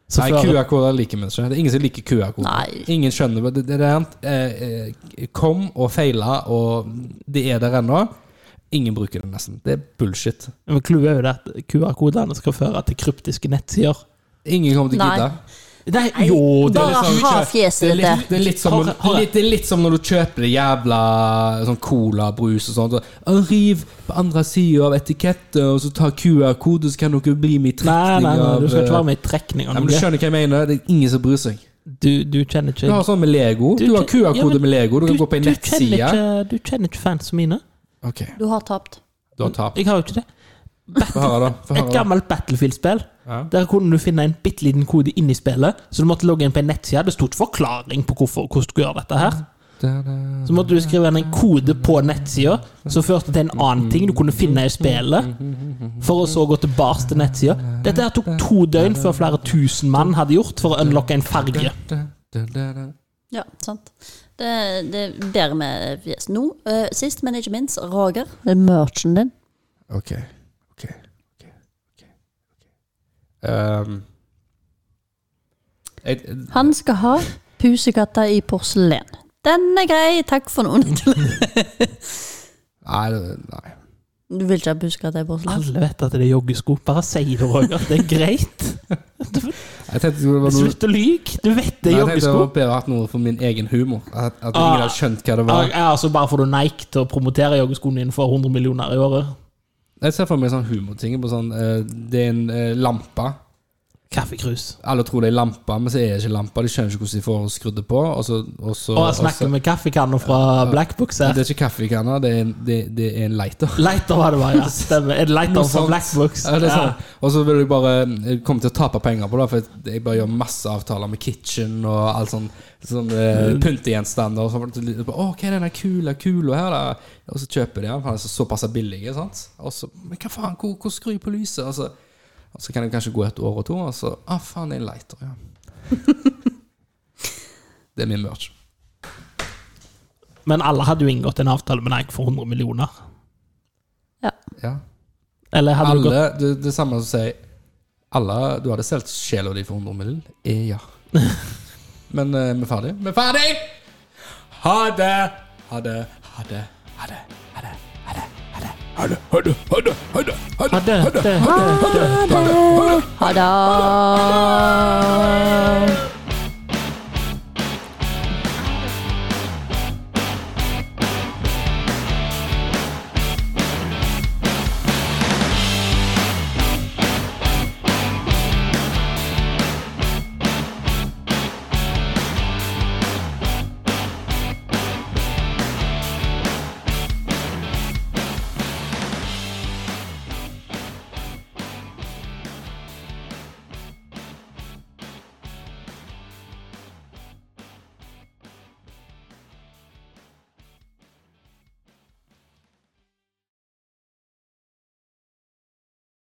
Så Mm. Nei, før- QR-koder liker vi ikke. Det er ingen som liker QR-koder. Nei. Ingen skjønner det. det, det er rent, eh, eh, kom og feila, og det er der ennå. Ingen bruker det nesten. Det er bullshit. Men Clouet er jo det at QR-kodene skal føre til kryptiske nettsider. Ingen kommer til å Nei. gidde. Nei, jo, det er Bare liksom- ha Det fjeset er ditt der. litt, det er litt, som, Har- har jeg- litt, det er litt som når du kjøper det jævla sånn cola-brus og sånt. og, «Å, Riv på andre sida av etikettet, og så ta QR-kode, så kan dere bli med i Nei, trekning nei, nei, av du skal ikke være eh, med i trekning. av Nei, men Du noe. skjønner hva jeg mener? Det er ingen som bryr seg. Du, du kjenner ikke Du har sånn med Lego. Du, Du har kjen- ja, QR-kode men med Lego. Du kan gå på en du kjenner nettside. ikke- Du kjenner ikke fansa mine. Ok, Du har tapt. du har tapt. Jeg har jo ikke det. Få høre, da. Få Et høre, da. gammelt Battlefield-spill. Ja. Der kunne du finne en bitte liten kode inni spillet, så du måtte logge inn på en nettside. Det stod ikke forklaring på hvorfor, hvordan du skulle gjøre dette her. Da, da. Så måtte du skrive inn en kode på nettsida som førte til en annen ting du kunne finne i spillet, for å så gå tilbake til nettsida. Dette her tok to døgn før flere tusen mann hadde gjort for å unlocke en farge. Da, da, da, da. Ja, sant. Det, det er bedre med fjes nå. eh, sist, men ikke minst, Roger. Det er merchen din. Ok, ok, ok, ok, ok. Um, jeg, Han skal ha pusekatter i porselen. Den er grei, takk for noen. Nei, det- nei. Du vil ikke ha pusekatter i porselen? Alle vet at det er joggesko. Bare si det, Roger. Det er greit. Jeg tenkte det var noe Slutt å lyge. Du vet det Nei, jeg er tenkte det var joggesko. bedre hatt noe for min egen humor. At, at Ah. ingen hadde skjønt hva det Ja, var. ja, altså bare får du Nike til å promotere joggeskoene dine for 100 millioner i året. Jeg ser for meg sånn humorting. På sånn, eh, det er en eh, lampe Kaffekrus. Alle tror det er lampe, men så er det ikke lampe. De skjønner ikke hvordan de får skrudd det på. Og så, og så, Og og jeg snakker så- med kaffekanner fra Blackbox Det her. er ikke kaffekanner, det, er en- det, det er en lighter. Lighter var det, var, ja. Stemmer. Er det lighter fra sant. Blackbox? Ja, det er sant. Og så vil jeg bare jeg kommer til å tape penger på det, for jeg bare gjør masse avtaler med Kitchen og alt sånn, sånn eh, pyntegjenstander. Og sånn. Å, hva er denne kula kula her, da? Og så kjøper de den, for den er så- såpass billig. ikke Sant? Og så Men hva faen, hvor, hvor skrur jeg på lyset? Og så, og så kan det kanskje gå et år og to, og så Å, faen, det er en lighter, ja. det er min merch. Men alle hadde jo inngått en avtale med Nike for 100 millioner. Ja. Eller hadde du gått Alle, det, det samme som å si Alle, du hadde solgt sjela di for 100 mill. Eh, [laughs] ja. Men eh, vi er ferdig. Vi er ferdig! Ha det! Ha det. Ha det. Ha det. Ha det. Ha det, ha det, ha det, ha det, ha det. Hadde, hadde, hadde. Ha det!